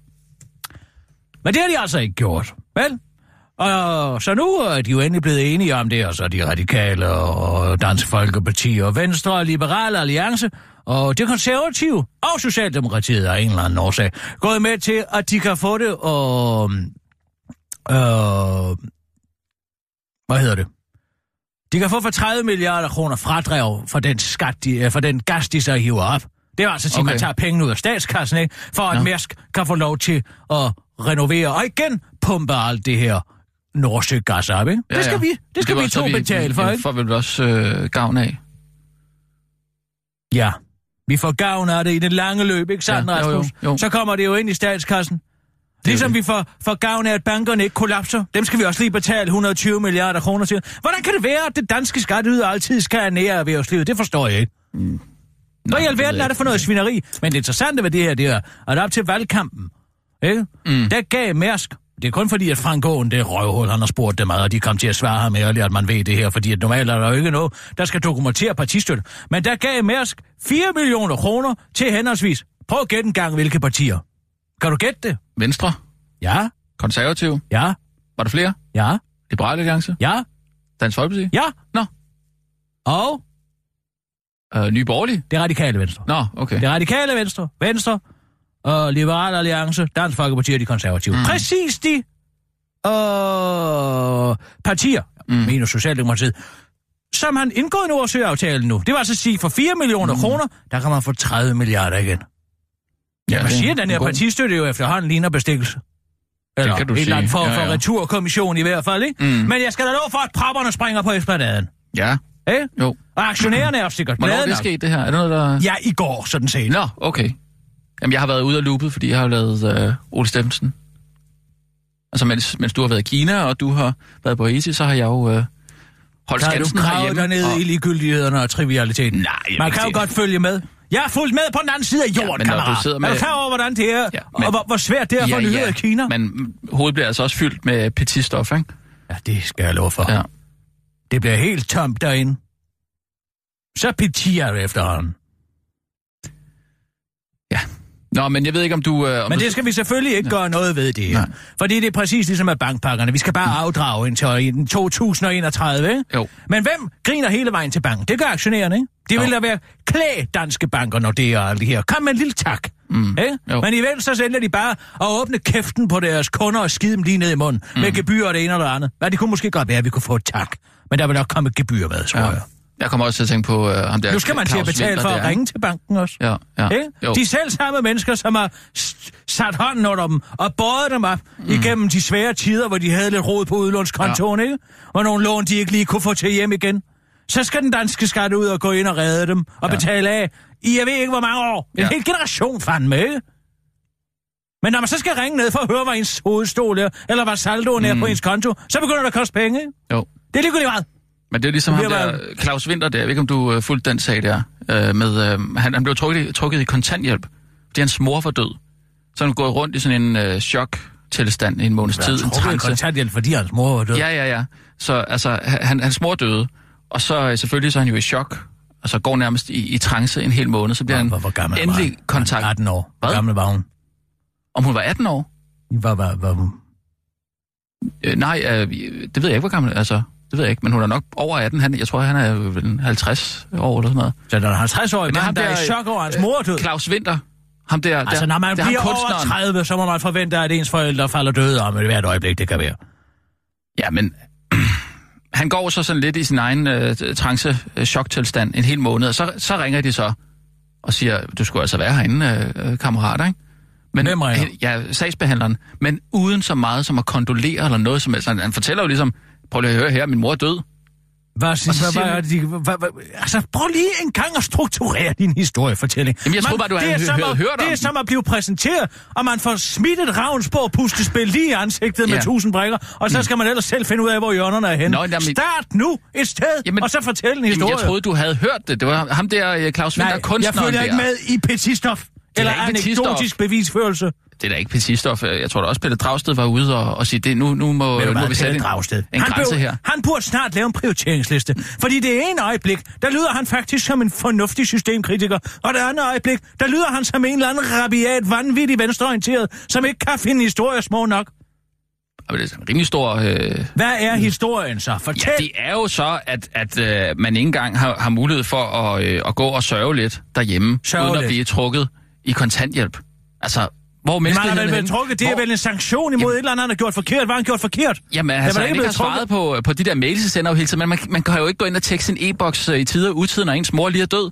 S5: Men det har de altså ikke gjort, vel? Og så nu er de jo endelig blevet enige om det, og så de radikale og Dansk Folkeparti og Venstre og Liberale Alliance og det konservative og Socialdemokratiet af en eller anden årsag gået med til, at de kan få det og... Øh, hvad hedder det? De kan få for 30 milliarder kroner fradrag for den, skat, de, øh, for den gas, de så hiver op. Det er altså til, at
S4: Okay.
S5: man tager pengene ud af statskassen, ikke? for at
S4: Nå.
S5: Mærsk kan få lov til at renovere og igen pumpe alt det her Nordsjøgas op. Ikke? Ja, det skal vi, det skal
S4: var
S5: vi
S4: så
S5: to betale for,
S4: ja,
S5: ikke?
S4: får vel også øh, gavn af.
S5: Ja, vi får gavn af det i det lange løb, ikke sandt,
S4: Ja, jo, jo,
S5: Rasmus?
S4: jo.
S5: Så kommer det jo ind i statskassen. Ligesom
S4: det.
S5: vi får, får gavn af, at bankerne ikke kollapser. Dem skal vi også lige betale 120 milliarder kroner til. Hvordan kan det være, at det danske skatteyder altid skal have nære erhvervslivet? Det forstår jeg ikke. Hvad i
S4: det ved
S5: alverden
S4: jeg
S5: er det for noget svineri? Men det interessante ved det her, det er, at op til valgkampen, ikke? Mm. der gav Mærsk, det er kun fordi, at Frank Aaen, det røvhul, han har spurgt dem ad, og de kom til at svare ham ærligt, at man ved det her, fordi at normalt er der jo ikke noget, der skal dokumentere partistøtte. Men der gav Mærsk 4 millioner kroner til henholdsvis. Prøv at gætte en gang, hvilke partier. Kan du gætte det?
S4: Venstre,
S5: Ja,
S4: konservativ,
S5: ja,
S4: var der flere?
S5: ja,
S4: Liberale Alliance,
S5: ja,
S4: Dansk Folkeparti,
S5: ja.
S4: Nå.
S5: Og
S4: øh, Nye Borgerlige.
S5: det radikale venstre.
S4: Nå, okay.
S5: Det radikale venstre, venstre og Liberale Alliance, Dansk Folkeparti og de konservative. Mm. Præcis de øh, partier, mm. mener Socialdemokratiet, som han indgået Nordsjøaftalen nu. Det var altså at sige, for 4 millioner mm. kroner, der kan man få 30 milliarder igen. Ja, man
S4: det er
S5: siger, at den
S4: en
S5: her
S4: god-
S5: partistøtte jo efterhånden ligner bestikkelse. Eller
S4: kan du
S5: en eller anden
S4: sige.
S5: form
S4: Ja,
S5: for
S4: ja.
S5: returkommission i hvert fald, ikke?
S4: Mm.
S5: Men jeg skal da love for, at propperne springer på esplanaden.
S4: Ja,
S5: Ikke?
S4: jo.
S5: Og aktionærerne er jo sikkert
S4: Hvornår er
S5: glade
S4: det
S5: nok.
S4: sket, det her? Er det noget, der...
S5: Ja, i går, sådan set.
S4: Nå, okay. Jamen, jeg har været ude af loopet, fordi jeg har lavet øh, Ole Steffensen. Altså, mens, mens du har været i Kina, og du har været på Haiti, så har jeg jo øh, holdt
S5: Så har du
S4: skansen
S5: gravet dig ned
S4: og-
S5: i ligegyldighederne og trivialiteten.
S4: Nej, jeg
S5: Man
S4: vil
S5: kan jo
S4: ikke sige
S5: godt følge med. Jeg er fuldt med på den anden side af jorden,
S4: altså- Ja, men
S5: ja,
S4: når
S5: kammerat.
S4: du sidder med-
S5: Er du klar over, hvordan det er,
S4: Ja,
S5: ja,
S4: men-
S5: men... og hvor, hvor svært det er at få nyheder i Kina?
S4: Men mm, hovedet bliver altså også fyldt med petitstof, ikke?
S5: Ja, det skal jeg love for.
S4: Ja.
S5: Ja. Det bliver helt tomt derinde. Så petier du efterhånden.
S4: Ja. Nå, men jeg ved ikke, om du... Øh, om
S5: Men
S4: du...
S5: det skal vi selvfølgelig ikke gøre noget ved det her.
S4: Nej. Mm.
S5: Fordi det er præcis ligesom med bankpakkerne. Vi skal bare afdrage indtil 2031, ikke?
S4: Jo.
S5: Men hvem griner hele vejen til banken? Det gør aktionærerne, ikke? Det vil
S4: Jo.
S5: da være klæ danske banker, når det er alt det her. Kom med en lille tak. Mm. Ikke?
S4: Jo.
S5: Men i venstre så ender de bare at åbne kæften på deres kunder og skide dem lige ned i munden. Mm. Med gebyr og det ene og det andet. Ja, det kunne måske godt være, at vi kunne få et tak. Men der vil nok komme et gebyr med, tror ja. jeg.
S4: Jeg kommer også til at tænke på øh, ham der...
S5: Nu skal man til at
S4: Claus
S5: betale
S4: Winther
S5: for at
S4: der,
S5: ringe til banken også.
S4: Ja, ja.
S5: Ikke?
S4: Jo.
S5: De selv samme mennesker, som har s- sat hånden under dem og båret dem op mm. igennem de svære tider, hvor de havde lidt rod på udlånskontoen, ja. ikke? Og nogle lån, de ikke lige kunne få til hjem igen. Så skal den danske skat ud og gå ind og redde dem og ja. betale af i jeg ved ikke hvor mange år. En
S4: Ja.
S5: ja. hel generation fandme, ikke? Men når man så skal ringe ned for at høre, hvad ens hovedstol er, eller hvad saldoen mm. er på ens konto, så begynder det at koste penge, ikke?
S4: Jo.
S5: Det er ligegyldigt meget.
S4: Men det er ligesom
S5: Det
S4: ham
S5: bliver
S4: der, Claus Winter der, jeg ved ikke om du øh, fulgte den sag der, øh, med, øh, han, han blev trukket, i- trukket i kontanthjælp, fordi hans mor var død. Så han går rundt i sådan en øh, chok-tilstand i en måneds tid. en
S5: Trukket i
S4: trance.
S5: kontanthjælp, fordi hans mor var død.
S4: Ja, ja, ja. Så altså, han, hans mor døde, og så øh, selvfølgelig så er han jo i chok, og så går nærmest i, i trance en hel måned, så bliver han
S5: Hvor, hvor gammel var
S4: endelig
S5: han?
S4: kontakt.
S5: Han var 18 år. Hvor
S4: Hvad?
S5: gammel var hun?
S4: Om hun var 18 år?
S5: Hvad var, var hun?
S4: Øh, nej, øh, det ved jeg ikke, hvor gammel, altså, det ved jeg ikke, men hun er nok over 18, han, jeg tror, han er øh, vel 50 år eller sådan noget.
S5: Så der er 50 år,
S4: Men
S5: men
S4: ham
S5: han der er
S4: der,
S5: i chok over hans
S4: øh,
S5: mor er død.
S4: Claus Winter, ham der,
S5: altså,
S4: der,
S5: når man
S4: det er ham
S5: bliver over
S4: kunstneren.
S5: 30, så må man forvente, at ens forældre falder døde om i hvert øjeblik, det kan være.
S4: Ja, men han går så sådan lidt i sin egen øh, trance-choktilstand en hel måned, og så, så ringer de så og siger, du skulle altså være herinde, øh, øh, kammerat, ikke? Men,
S5: Hvem ringer?
S4: han- Ja, sagsbehandleren. Men uden så meget som at kondolere eller noget som helst. Han, han fortæller jo ligesom, prøv lige at høre her, min mor er død.
S5: Hvad, sig,
S4: så
S5: hvad,
S4: siger
S5: hvad, er
S4: man-
S5: det, de, hvad, hvad, altså, prøv lige en gang at strukturere din historiefortælling.
S4: Jamen, jeg troede bare, du
S5: det
S4: havde
S5: er
S4: hø-
S5: som
S4: hørt-
S5: at,
S4: hørt om
S5: Det er
S4: den.
S5: som at blive præsenteret, og man får smidt et ravnsborg puslespil lige i ansigtet
S4: Ja. Mm.
S5: med tusind brikker, og så skal man ellers selv finde ud af, hvor hjørnerne er henne.
S4: Nå, jamen-
S5: Start nu et sted,
S4: Jamen-
S5: og så fortæl en
S4: Jamen,
S5: historie.
S4: jeg troede, du havde hørt det. Det var ham der, øh, Claus Winter,
S5: Nej, jeg
S4: kunstneren
S5: følger ikke
S4: der.
S5: med i petistof.
S4: er
S5: Eller
S4: da ikke petitstof.
S5: anekdotisk bevisførelse.
S4: Det er da ikke Petistof. Jeg tror da også, Pelle Dragsted var ude og, og sige, det, nu, nu må,
S5: Ved du
S4: nu må
S5: hvad,
S4: vi sætte en,
S5: Pelle Dragsted.
S4: en
S5: han,
S4: grænse
S5: blev-
S4: her.
S5: han burde snart lave en prioriteringsliste. Fordi det ene øjeblik, der lyder han faktisk som en fornuftig systemkritiker. Og det andet øjeblik, der lyder han som en eller anden rabiat, vanvittig venstreorienteret, som ikke kan finde historier små nok.
S4: Og det er en rimelig stor... Øh,
S5: Hvad er historien så? Fortæl.
S4: Ja, det er jo så, at, at øh, man ikke engang har, har mulighed for at, øh, at gå og sørge lidt derhjemme,
S5: Sørge
S4: uden at
S5: lidt.
S4: blive trukket i kontanthjælp. Altså, hvor er
S5: Man har vel
S4: menneskeheden
S5: blevet
S4: henne?
S5: trukket, det er
S4: Hvor-
S5: vel en sanktion imod et eller andet, han har gjort forkert. Hvad har han gjort forkert?
S4: Jamen,
S5: Der
S4: altså,
S5: var
S4: han ikke har
S5: blevet
S4: svaret på, på de der mails, jeg sender jo hele tiden, men man, man kan jo ikke gå ind og tjekke sin e-boks øh, i tide og utid, når ens mor lige er død.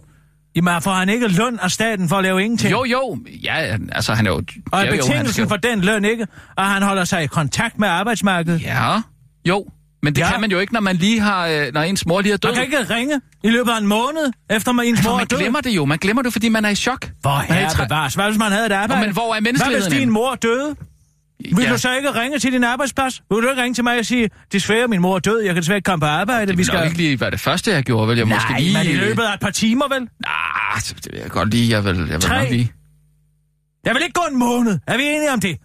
S5: Jamen, får han ikke løn af staten for at lave ingenting?
S4: Jo, jo, ja, altså, han er jo...
S5: Og er
S4: jo, jo, han skal
S5: betingelsen
S4: jo-
S5: for den løn ikke, og han holder sig i kontakt med arbejdsmarkedet.
S4: Ja, jo, men det
S5: Ja.
S4: ja. kan man jo ikke, når man lige har... øh, når ens mor lige er død.
S5: Man kan ikke ringe i løbet af en måned, efter man ens
S4: For
S5: mor er
S4: Altså, man
S5: død.
S4: glemmer det jo, man glemmer det, fordi man er i chok.
S5: Hvor
S4: Man er i
S5: herre
S4: tra-
S5: bevares. Hvad hvis man havde et arbejde?
S4: Nå, men hvor er menneskeligheden
S5: Hvad hvis din
S4: henne?
S5: mor døde? Vil
S4: Ja.
S5: du så ikke ringe til din arbejdsplads? Vil du ikke ringe til mig og sige, desværre min mor er død, jeg kan desværre ikke komme på arbejde, vi
S4: Det skal
S5: skal...
S4: nok ikke lige være det første, jeg gjorde, vel? Jeg måske
S5: Nej,
S4: lige...
S5: men i løbet af et par timer vel?
S4: Ah, det vil jeg godt lide. Jeg vil, jeg vil
S5: Tre.
S4: nok lige.
S5: Jeg vil ikke gå en måned. Er vi enige om det?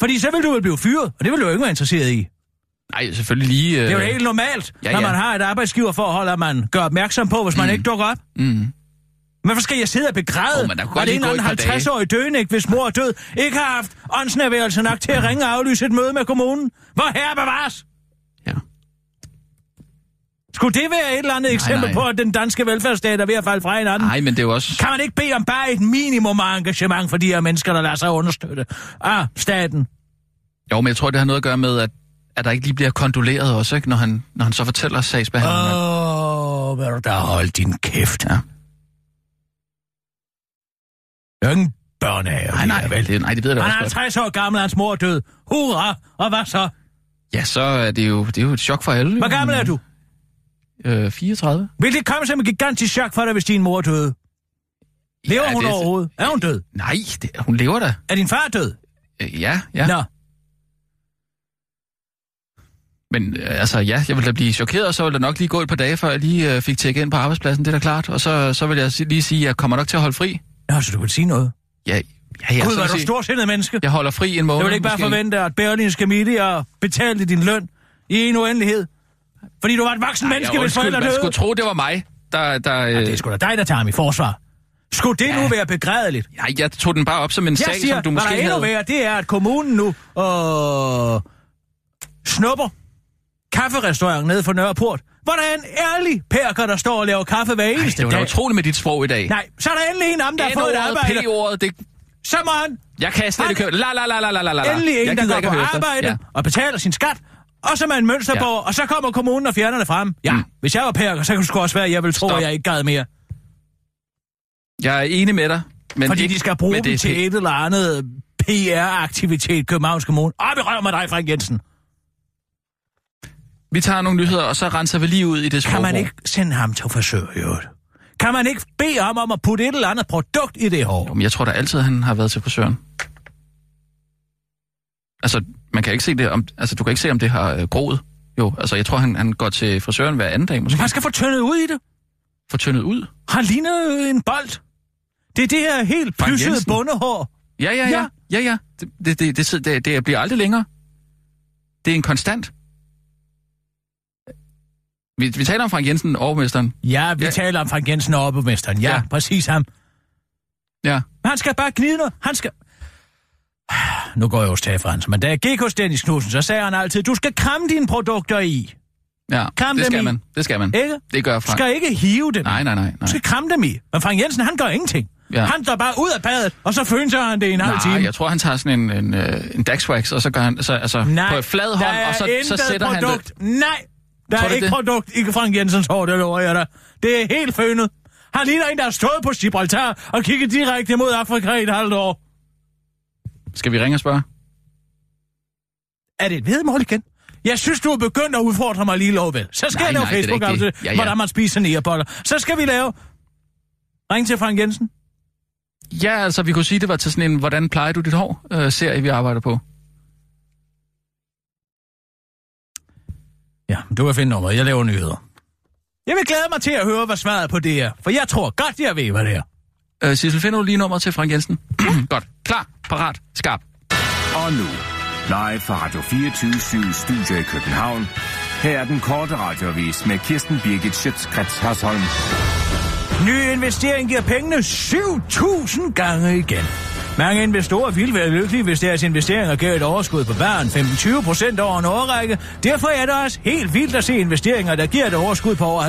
S5: Fordi så vil du vel blive fyret, og det vil du jo ikke være interesseret i.
S4: Nej, selvfølgelig lige... Øh,
S5: Det er jo helt normalt,
S4: Ja,
S5: ja, når
S4: ja.
S5: man har et arbejdsgiverforhold, at man gør opmærksom på, hvis man ikke dukker op.
S4: Mm.
S5: Men hvorfor skal jeg sidde og begræde,
S4: Åh, men der kunne
S5: at
S4: godt lige
S5: en
S4: gå et
S5: eller
S4: par dage.
S5: 50-årig døende, hvis mor er død, ikke har haft åndsnærværelse nok til at ringe og aflyse et møde med kommunen? Hvor herre bevares?
S4: Ja.
S5: Skulle det være et eller andet eksempel
S4: nej.
S5: på, at den danske velfærdsstat er ved at falde fra hinanden?
S4: Nej, men det er jo også...
S5: Kan man ikke bede om bare et minimum af engagement for de her mennesker, der lader sig understøtte af staten?
S4: Jo, men jeg tror, det har noget at gøre med, at, at der ikke lige bliver kondoleret også, ikke? Når han, når han så fortæller sagsbehandlingen. Uh.
S5: Åh, oh, vil du da holde din kæft? Ja. Det er jo ikke en børnehave,
S4: Nej,
S5: det
S4: nej,
S5: her, vel?
S4: det, nej, det ved jeg da
S5: Han er
S4: også godt.
S5: 50 år gammel, hans mor er død. Hurra! Og hvad så?
S4: Ja, så er det jo, det er jo et chok for alle.
S5: Hvor gammel er du?
S4: Øh, 34.
S5: Vil det komme som et gigantisk chok for dig, hvis din mor døde? Lever
S4: Ja,
S5: ja, hun
S4: det-
S5: overhovedet? Er hun død?
S4: Nej, det, hun lever da.
S5: Er din far død?
S4: Øh, ja, ja.
S5: Nå,
S4: Men øh, altså, ja, jeg ville da blive chokeret, og så ville der nok lige gå et par dage, før jeg lige øh, fik tjekket ind på arbejdspladsen, det er da klart. Og så, så vil jeg si- lige sige, at jeg kommer nok til at holde fri.
S5: Nå så du vil sige noget.
S4: Ja, ja, ja
S5: Gud,
S4: så
S5: var
S4: vil
S5: du
S4: sige,
S5: storsindet menneske.
S4: Jeg holder fri en måned.
S5: Jeg vil ikke bare
S4: måske.
S5: forvente, at Berlinske Media betalte din løn i en uendelighed. Fordi du var et voksen
S4: Ej,
S5: menneske,
S4: ja,
S5: hvis
S4: undskyld,
S5: forældre
S4: man
S5: døde.
S4: skulle tro, det var mig, der... øh, der ja,
S5: Det er sgu da dig, der tager ham i forsvar. Skulle det ja. nu være begrædeligt?
S4: Nej, jeg tog den bare op som en
S5: Jeg
S4: sag,
S5: siger,
S4: som du
S5: hvad
S4: måske
S5: der er
S4: havde...
S5: endnu værre, det er, at kommunen nu øh, snupper kafferestaurant nede for Nørreport. Hvor der er en ærlig perker, der står og laver kaffe hver
S4: Ej,
S5: eneste
S4: det var da
S5: dag.
S4: utroligt med dit sprog i dag.
S5: Nej, så er der endelig en af dem, der har fået et
S4: N-ordet,
S5: arbejde.
S4: P-ordet, det...
S5: Så må han
S4: Jeg kan slet ikke høre... La, la, la, la, la, la, la.
S5: endelig en,
S4: jeg
S5: der
S4: gider
S5: går
S4: ikke at
S5: på
S4: høre efter.
S5: arbejde ja. og betaler sin skat. Og så er man mønsterborg, ja. og så kommer kommunen og fjerner det frem. Ja,
S4: Mm.
S5: mm. hvis jeg var perker, så kunne det sgu også være, at jeg ville tro,
S4: Stop.
S5: at jeg ikke gad mere.
S4: Ja. Jeg er enig med dig, men
S5: Fordi
S4: ikke
S5: de skal bruge
S4: med
S5: dem
S4: det
S5: til et eller andet PR-aktivitet i Københavns Kommune. Op i røv med dig, Frank Jensen.
S4: Vi tager nogle nyheder, og så renser vi lige ud i det sprog.
S5: Kan man ikke sende ham til frisør, i øvrigt? Kan man ikke bede ham om at putte et eller andet produkt i det hår?
S4: Jamen, jeg tror da altid, han har været til frisøren. Altså, man kan ikke se det, om, altså, du kan ikke se, om det har øh, groet. Jo, altså, jeg tror, han, han går til frisøren hver anden dag, måske.
S5: Han skal få tyndet ud i det.
S4: Får tyndet ud.
S5: Han ligner øh, en bold. Det er det her helt
S4: Frank
S5: plyssede
S4: Jensen.
S5: bundehår.
S4: Ja, ja, ja. Ja, ja. Det, det, det, det, sid- det, det bliver aldrig længere. Det er en konstant. Vi, vi taler om Frank Jensen, overmesteren.
S5: Ja, vi
S4: Ja.
S5: ja. taler om Frank Jensen og oppemesteren. Ja,
S4: Ja.
S5: ja, præcis ham.
S4: Ja.
S5: Men Han skal bare gnide noget. Han skal... Nu går jeg hos Tafrans, men da jeg gik hos Dennis Knudsen, så sagde han altid, du skal kramme dine produkter i,
S4: Ja,
S5: Kram
S4: det
S5: dem
S4: skal
S5: i.
S4: man. Det skal man.
S5: ikke?
S4: Det gør
S5: Du
S4: Frank.
S5: skal ikke hive dem.
S4: Nej, nej, nej.
S5: Du
S4: nej.
S5: skal kramme dem i. Men Frank Jensen, han gør ingenting.
S4: Ja.
S5: Ja. Han går bare ud af badet, og så fønser han det i en halv time.
S4: Nej, jeg tror, han tager sådan en, en, øh, en Daxwax, og så gør han så, altså, på en flad
S5: der
S4: hånd,
S5: er
S4: og så, så
S5: intet
S4: sætter han det.
S5: produkt. han det. Nej, der
S4: Tror
S5: er
S4: du
S5: ikke
S4: det?
S5: det? produkt i Frank Jensens hår, det lover jeg dig. Det er helt fønet. Han ligner en, der har stået på Gibraltar og kigget direkte mod Afrika i et halvt år.
S4: Skal vi ringe og spørge?
S5: Er det et vedmål igen? Jeg synes, du er begyndt at udfordre mig lige lov vel. Så skal
S4: Nej,
S5: jeg lave
S4: nej, det er
S5: facebook
S4: da ikke
S5: til,
S4: det. Ja,
S5: ja,
S4: ja.
S5: ja. hvordan man spiser nærboller. Så skal vi lave... Ring til Frank Jensen.
S4: Ja, altså, vi kunne sige, det var til sådan en, hvordan plejer du dit hår, øh, serie, vi arbejder på.
S5: Ja, du kan finde nummeret. Jeg laver nyheder. Jeg vil glæde mig til at høre, hvad svaret på det er. For jeg tror godt, jeg ved, hvad det er.
S4: Øh, Sissel, finder du lige nummeret til Frank Jensen? Godt. Klar, parat, skarp.
S2: Og nu, live fra Radio 24 Studio i København. Her er den korte radiovis med Kirsten Birgit Schøtzgrads Hasholm.
S5: Ny investering giver pengene 7.000 gange igen. Mange investorer ville være lykkelige, hvis deres investeringer gav et overskud på hver en 15-20 procent over en årrække. Derfor er det også helt vildt at se investeringer, der giver et overskud på over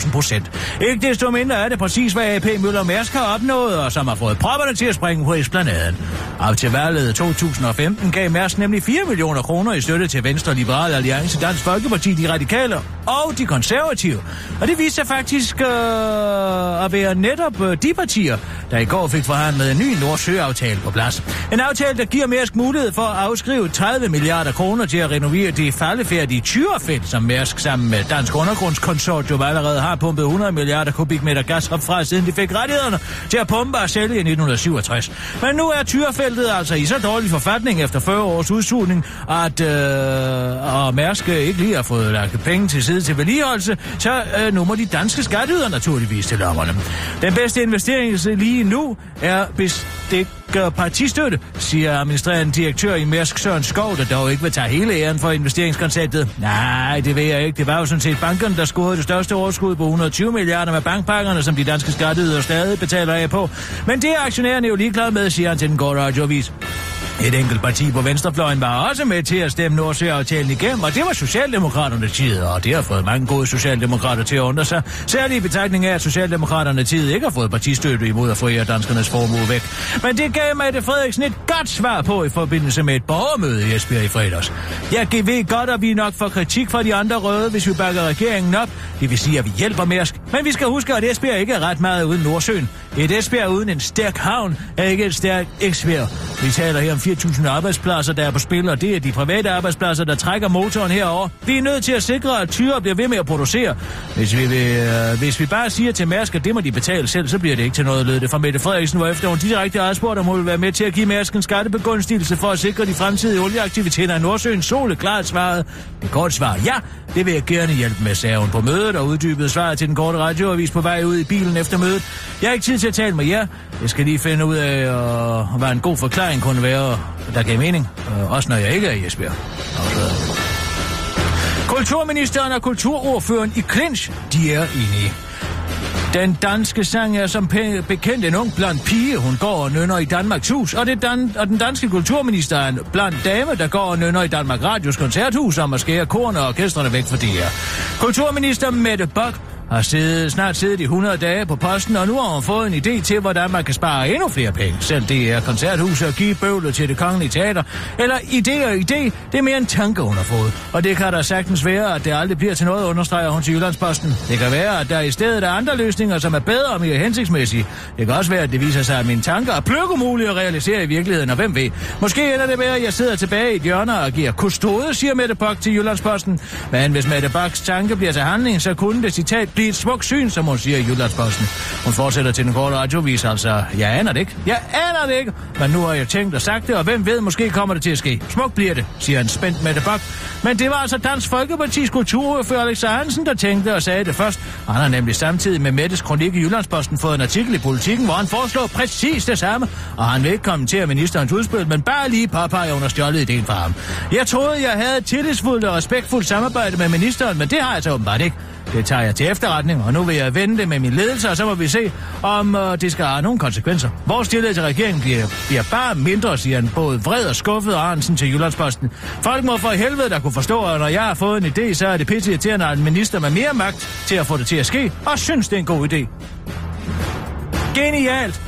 S5: 70.000 procent. Ikke desto mindre er det præcis, hvad AP Møller Mærsk har opnået, og som har fået propperne til at springe på esplanaden. Op til valget 2015 gav Mærsk nemlig 4 millioner kroner i støtte til Venstre Liberale Alliance, Dansk Folkeparti, De Radikale og De Konservative. Og det viste sig faktisk øh, at være netop øh, de partier, der i går fik forhandlet en ny Nordsjøaftale på plads. En aftale, der giver Mærsk mulighed for at afskrive 30 milliarder kroner til at renovere det faldefærdige tyrefelt, som Mærsk sammen med Dansk Undergrundskonsortium allerede har pumpet 100 milliarder kubikmeter gas op fra, siden de fik rettighederne til at pumpe og sælge i 1967. Men nu er tyrefeltet altså i så dårlig forfatning efter 40 års udsugning, at øh, og Mærsk øh, ikke lige har fået lagt penge til side til vedligeholdelse, så øh, nu må de danske skatteydere naturligvis til lommerne. Den bedste investering lige nu er bestikker partistøtte, siger administrerende direktør i Mærsk Søren Skov, der dog ikke vil tage hele æren for investeringskonceptet. Nej, det ved jeg ikke. Det var jo sådan set bankerne, der scorede det største overskud på 120 milliarder med bankpakkerne, som de danske skatteydere stadig betaler af på. Men det er aktionærerne jo ligeglade med, siger han til den korte radioavis. Et enkelt parti på venstrefløjen var også med til at stemme Nordsjøaftalen igennem, og det var Socialdemokraterne tid, og det har fået mange gode socialdemokrater til at undre sig. Særligt i betragtning af, at Socialdemokraterne tid ikke har fået partistøtte imod at forære danskernes formue væk. Men det gav Mette Frederiksen et godt svar på i forbindelse med et borgermøde i Esbjerg i fredags. Jeg ved godt, at vi nok får kritik fra de andre røde, hvis vi bakker regeringen op. Det vil sige, at vi hjælper Mærsk. Men vi skal huske, at Esbjerg ikke er ret meget uden Nordsøen. Et Esbjerg uden en stærk havn er ikke et stærkt Esbjerg. Vi taler her om 4.000 arbejdspladser, der er på spil, og det er de private arbejdspladser, der trækker motoren herover. Vi er nødt til at sikre, at tyre bliver ved med at producere. Hvis vi, vil, øh, hvis vi bare siger til Mærsk, at det må de betale selv, så bliver det ikke til noget, lød det fra Mette Frederiksen, hvor efter hun direkte adspurgte, om hun vil være med til at give Mærsk en skattebegunstigelse for at sikre de fremtidige olieaktiviteter i Nordsøen. Sole klart svarede. Det korte svar, ja, det vil jeg gerne hjælpe med, sagde hun på mødet og uddybede svaret til den korte radioavis på vej ud i bilen efter mødet. Jeg har ikke tid til at tale med jer. Jeg skal lige finde ud af, øh, hvad en god forklaring kunne være, der gav mening. Øh, også når jeg ikke er i Esbjerg. Afsløret. Kulturministeren og kulturordføreren i clinch, de er enige. Den danske sang er som pe- bekendt en ung blandt pige, hun går og nynner i Danmarks Hus, og, det dan- og den danske kulturminister er en blandt dame, der går og nynner i Danmark Radios koncerthus om at skære korn og orkestrene væk fra de her. Kulturminister Mette Bock har siddet, snart siddet i 100 dage på posten, og nu har hun fået en idé til, hvordan man kan spare endnu flere penge. Selv det er koncerthuset at give bøvlet til det kongelige teater. Eller idé og idé, det er mere en tanke, hun har fået. Og det kan da sagtens være, at det aldrig bliver til noget, understreger hun til Jyllandsposten. Det kan være, at der i stedet er andre løsninger, som er bedre og mere hensigtsmæssige. Det kan også være, at det viser sig, at mine tanker er pløkkemulige at realisere i virkeligheden, og hvem ved. Måske ender det med, at jeg sidder tilbage i et hjørne og giver kustode, siger Mette Bock til Jyllandsposten. Men hvis Mette Bocks tanke bliver til handling, så kunne det citat blive et smukt syn, som hun siger i Jyllandsposten. Hun fortsætter til den korte radiovis, altså, jeg aner det ikke. Jeg aner det ikke, men nu har jeg tænkt og sagt det, og hvem ved, måske kommer det til at ske. Smukt bliver det, siger en spændt Mette Bock. Men det var altså Dansk Folkeparti's kulturordfører Alex Hansen, der tænkte og sagde det først. Han har nemlig samtidig med Mettes kronik i Jyllandsposten fået en artikel i Politiken, hvor han foreslår præcis det samme, og han vil ikke kommentere ministerens udspil, men bare lige påpege under stjålet idéen fra ham. Jeg troede, jeg havde et tillidsfuldt og respektfuldt samarbejde med ministeren, men det har jeg så åbenbart ikke. Det tager jeg til efterretning, og nu vil jeg vende det med min ledelse, og så må vi se, om øh, det skal have nogle konsekvenser. Vores tillid til regeringen bliver, bliver bare mindre, siger han både vred og skuffet Arnsen til Jyllandsposten. Folk må for helvede der kunne forstå, at når jeg har fået en idé, så er det pisse irriterende, at en minister med mere magt til at få det til at ske, og synes, det er en god idé. Genialt!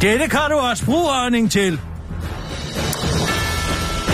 S5: Dette kan du også bruge Arning til.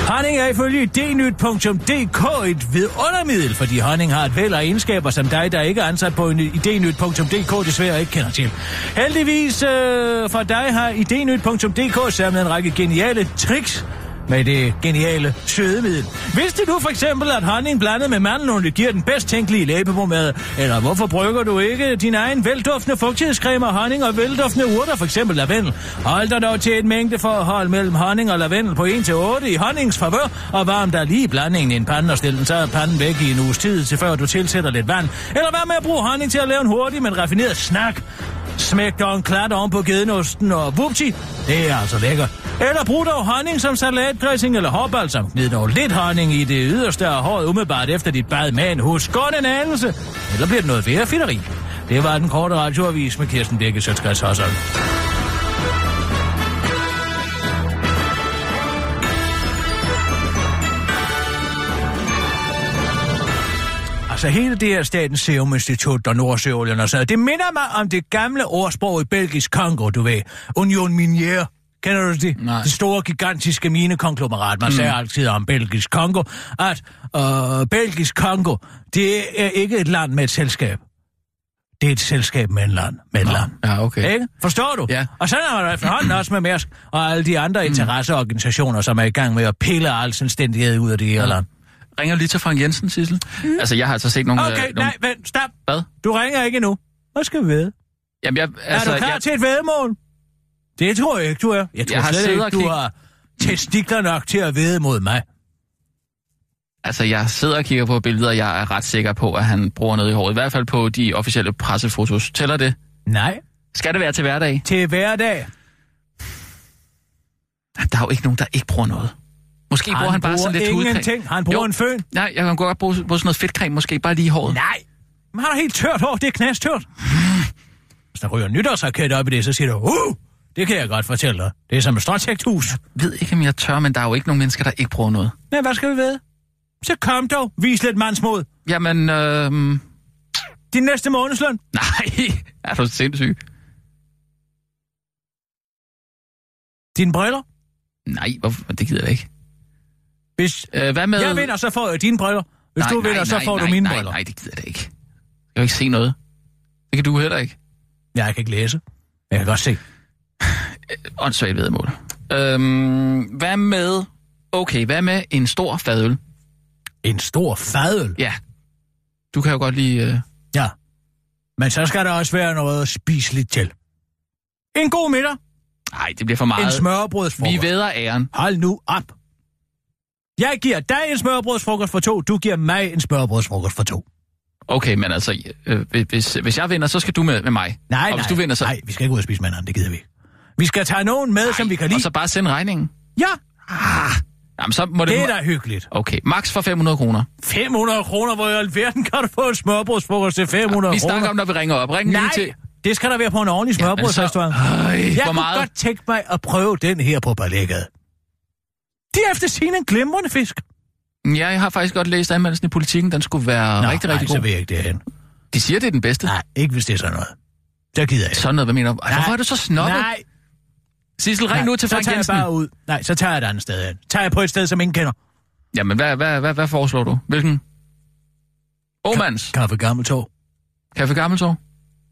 S5: Honning er ifølge idnyt.dk et vidundermiddel, fordi honning har et væld af egenskaber, som dig, der ikke er ansat på en idnyt.dk, desværre ikke kender til. Heldigvis øh, for dig har idnyt.dk samlet en række geniale tricks med det geniale sødemiddel. Vidste du for eksempel, at honning blandet med mandelolie giver den bedst tænkelige læbepomade? Eller hvorfor brygger du ikke din egen velduftende fugtighedscreme af honning og velduftende urter, for eksempel lavendel? Hold dig dog til et mængdeforhold mellem honning og lavendel på 1-8 i honningens favør, og varm dig lige blandingen i en pande og stil den så panden væk i en uges tid, til før du tilsætter lidt vand. Eller hvad med at bruge honning til at lave en hurtig, men raffineret snak? Smæk dog en klat oven på gedenosten og vupti. Det er altså lækkert. Eller brug dog honning som salatdressing eller hårbalsam. Gnid dog lidt honning i det yderste af håret umiddelbart efter dit bad med en hus. Godt en anelse. Eller bliver det noget værre fitteri. Det var den korte radioavis med Kirsten Birke Sjøtskreds Hassan. Altså hele det her Statens Serum Institut og Nordsøolien og sådan noget, det minder mig om det gamle ordsprog i Belgisk Kongo, du ved. Union Minière. Kender du det?
S4: Nej.
S5: Det store, gigantiske minekonglomerat. Man mm. sagde altid om Belgisk Kongo, at øh, Belgisk Kongo, det er ikke et land med et selskab. Det er et selskab med et land. Med et land.
S4: Ja, okay.
S5: Ikke? Forstår du?
S4: Ja. Mm.
S5: Og sådan er der efterhånden også med Mærsk og alle de andre interesseorganisationer, som er i gang med at pille al selvstændighed ud af det her land.
S4: Ringer lige til Frank Jensen, Sissel. Mm. Altså, jeg har altså set nogle... øh,
S5: Okay,
S4: nogle...
S5: nej, vent, stop.
S4: Hvad?
S5: Du ringer ikke endnu. Hvad skal vi ved?
S4: Jamen, jeg,
S5: Altså,
S4: altså,
S5: er du klar
S4: jeg,
S5: jeg... til et vedmål? Det tror jeg ikke, du er. Jeg tror
S4: Jeg har
S5: jeg slet
S4: siddet
S5: ikke,
S4: og
S5: du
S4: kig-
S5: har testikler nok til at vede mod mig.
S4: altså, jeg sidder og kigger på billeder, og jeg er ret sikker på, at han bruger noget i håret. I hvert fald på de officielle pressefotos. Tæller det?
S5: Nej,
S4: Skal det være til hverdag?
S5: til hverdag.
S4: Der er jo ikke nogen, der ikke bruger noget. Måske bruger han bare sådan lidt hudcreme.
S5: ingenting. Han bruger
S4: Jo.
S5: jo. en føn.
S4: Nej, jeg kan godt bruge, bruge sådan noget fedtcreme, måske bare lige i håret.
S5: Nej. Men han har helt tørt hår. Det er knastørt. Hvis der ryger nytårsraket op i det, så siger du, uh, det kan jeg godt fortælle dig. Det er som et stråtægthus.
S4: Jeg ved ikke, om jeg tør, men der er jo ikke nogen mennesker, der ikke bruger noget.
S5: Men hvad skal vi ved? Så kom dog. Vis lidt mandsmod.
S4: Jamen, øh,
S5: Din næste månedsløn.
S4: nej, er du sindssyg?
S5: Dine briller.
S4: Nej, hvorfor? det gider jeg ikke.
S5: Hvis
S4: Øh, hvad med...
S5: jeg vinder, så får jeg dine briller. Hvis
S4: nej,
S5: du vinder,
S4: nej,
S5: så
S4: nej,
S5: får
S4: nej,
S5: du mine
S4: nej,
S5: briller.
S4: Nej, det gider jeg da ikke. Jeg kan jo ikke se noget. Det kan du heller ikke.
S5: Jeg kan ikke læse. Men jeg kan godt se.
S4: Åndssvagt vedmål. Øhm, hvad med... Okay, hvad med en stor fadøl?
S5: En stor fadøl.
S4: Ja. Du kan jo godt lide... Øh...
S5: Ja. Men så skal der også være noget at spise lidt til. En god middag.
S4: Nej, det bliver for meget.
S5: En
S4: Vi
S5: smørbrødsfrokost.
S4: væder æren.
S5: Hold nu op. Jeg giver dig en smørbrødsfrokost for to. Du giver mig en smørbrødsfrokost for to.
S4: Okay, men altså, øh, hvis, hvis jeg vinder, så skal du med, med mig.
S5: Nej,
S4: og
S5: nej.
S4: hvis du vinder, så...
S5: Nej, vi skal ikke ud og spise med hinanden. Det gider vi ikke. Vi skal tage nogen med, som vi kan lide.
S4: Og så bare send regningen.
S5: Ja,
S4: Jamen, så må det...
S5: det er da hyggeligt.
S4: Okay, max for 500 kroner.
S5: 500 kroner, hvor i alverden kan du få en smørbrødsfrokost til 500
S4: Vi
S5: kroner?
S4: snakker om, når vi ringer op. Ring
S5: Nej,
S4: lige til...
S5: Det skal der være på en ordentlig smørbrødsrestaurant. Ja,
S4: Øj,
S5: jeg
S4: altså, hvor
S5: kunne
S4: meget?
S5: godt tænke mig at prøve den her på ballægget. Det er efter sin en glimrende fisk.
S4: Ja, jeg har faktisk godt læst anmeldelsen i politikken. Den skulle være Nå, rigtig,
S5: nej,
S4: rigtig
S5: så
S4: god.
S5: vil jeg ikke derhen.
S4: De siger, det er den bedste.
S5: Nej, ikke hvis det er sådan noget. Der gider jeg ikke.
S4: Sådan noget, hvad mener du? Ej, Hvorfor er du så snobbet?
S5: Nej,
S4: Sissel, ring
S5: nej,
S4: nu til
S5: så
S4: Frank
S5: tager
S4: Jensen.
S5: jeg bare ud. Nej, så tager jeg et andet sted hen. Tager jeg på et sted, som ingen kender.
S4: Jamen, hvad, hvad, hvad, hvad foreslår du? Hvilken? Åmands.
S5: Kaffe Gammeltorv.
S4: Café Gammeltorv?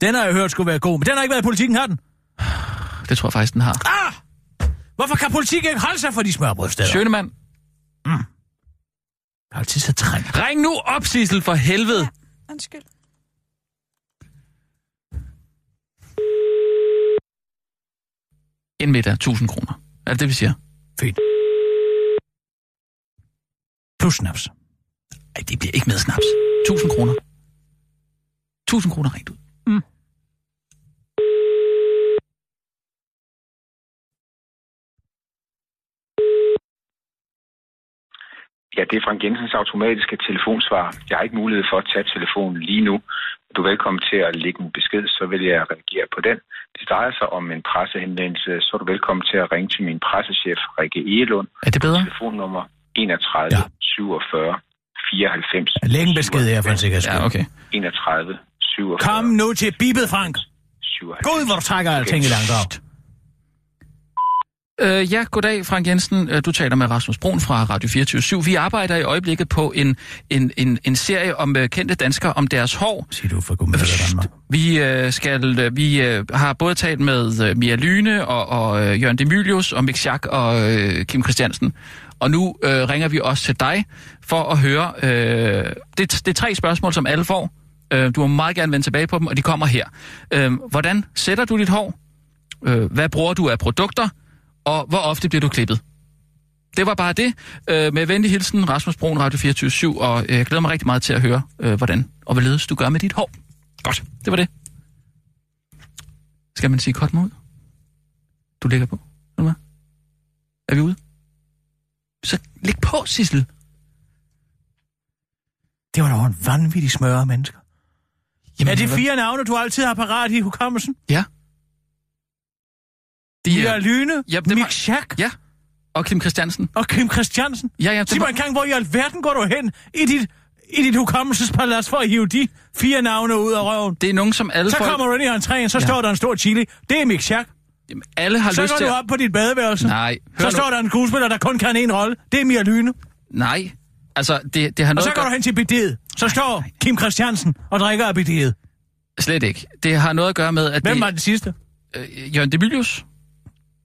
S5: Den har jeg hørt skulle være god, men den har ikke været i politikken, har den?
S4: Det tror jeg faktisk, den har.
S5: Ah! Hvorfor kan politik ikke holde sig for de smørbrødsteder?
S4: Sjønemann.
S5: Jeg er altid så trængt.
S4: Ring nu op, Sissel, for helvede.
S6: Undskyld.
S4: En middag, 1000 kroner. Er det det, vi siger?
S5: Fint. Plus snaps.
S4: Ej, det bliver ikke med snaps. 1000 kroner. 1000 kroner rent ud.
S7: Ja, det er Frank Jensens automatiske telefonsvar. Jeg har ikke mulighed for at tage telefonen lige nu. Du er velkommen til at lægge en besked, så vil jeg reagere på den. Det drejer sig om en pressehenvendelse, så er du velkommen til at ringe til min pressechef, Rikke Egelund,
S4: Er det bedre?
S7: telefonnummer 31
S5: Ja.
S7: 47 94.
S5: Læg en besked her for en sikkerheds skyld.
S4: Ja, okay.
S7: 31 47
S5: Kom nu til Bibet, Frank.
S7: 97.
S5: Gud, hvor du trækker alting i langt op.
S4: Øh, ja, goddag Frank Jensen. Øh, Du taler med Rasmus Brun fra Radio 24 Vi arbejder i øjeblikket på en, en, en, en serie om øh, kendte danskere, om deres hår.
S5: Sig du for gud med Danmark.
S4: Vi, øh, skal, øh, vi øh, har både talt med øh, Mia Lyne og, og øh, Jørgen Demilius og Mick Schack og øh, Kim Christiansen. Og nu øh, ringer vi også til dig for at høre... Øh, det, det er tre spørgsmål, som alle får. Øh, du må meget gerne vende tilbage på dem, og de kommer her. Øh, hvordan sætter du dit hår? Øh, hvad bruger du af produkter? Og hvor ofte bliver du klippet? Det var bare det. Øh, med venlig hilsen, Rasmus Brun, Radio 24 og øh, jeg glæder mig rigtig meget til at høre, øh, hvordan og hvorledes du gør med dit hår. Godt, det var det. Skal man sige godt mod? Du ligger på, eller hvad? Er vi ude? Så læg på, Sissel.
S5: Det var da en vanvittig smør af mennesker. Jamen, er det
S4: hvad-
S5: fire navne, du altid har parat i hukommelsen?
S4: Ja. De
S5: Mia
S4: er...
S5: Lyne,
S4: Ja,
S5: ja,
S4: det var-
S5: Mick Schack
S4: Ja, og Kim Christiansen.
S5: og Kim Christiansen.
S4: Ja, ja, det
S5: Sig
S4: var-
S5: mig engang, hvor i alverden går du hen i dit, i dit hukommelsespalads for at hive de fire navne ud af røven?
S4: Det er nogen, som alle
S5: Så
S4: folk...
S5: kommer du ind i entréen, så
S4: Ja.
S5: ja. står der en stor chili. Det er Mick Schack.
S4: Jamen, alle har
S5: Så
S4: lyst
S5: går
S4: til...
S5: du op på dit badeværelse.
S4: Nej, hør
S5: Så
S4: nu.
S5: står der en skuespiller, der kun kan en rolle. Det er Mia Lyne.
S4: Nej, altså, det, det har
S5: Og
S4: noget...
S5: så går
S4: at
S5: du
S4: gøre-
S5: hen til bidet. Så står Kim Christiansen og drikker af bidet.
S4: Slet ikke. Det har noget at gøre med, at
S5: Hvem
S4: det...
S5: var den sidste?
S4: øh, Jørgen Demilius.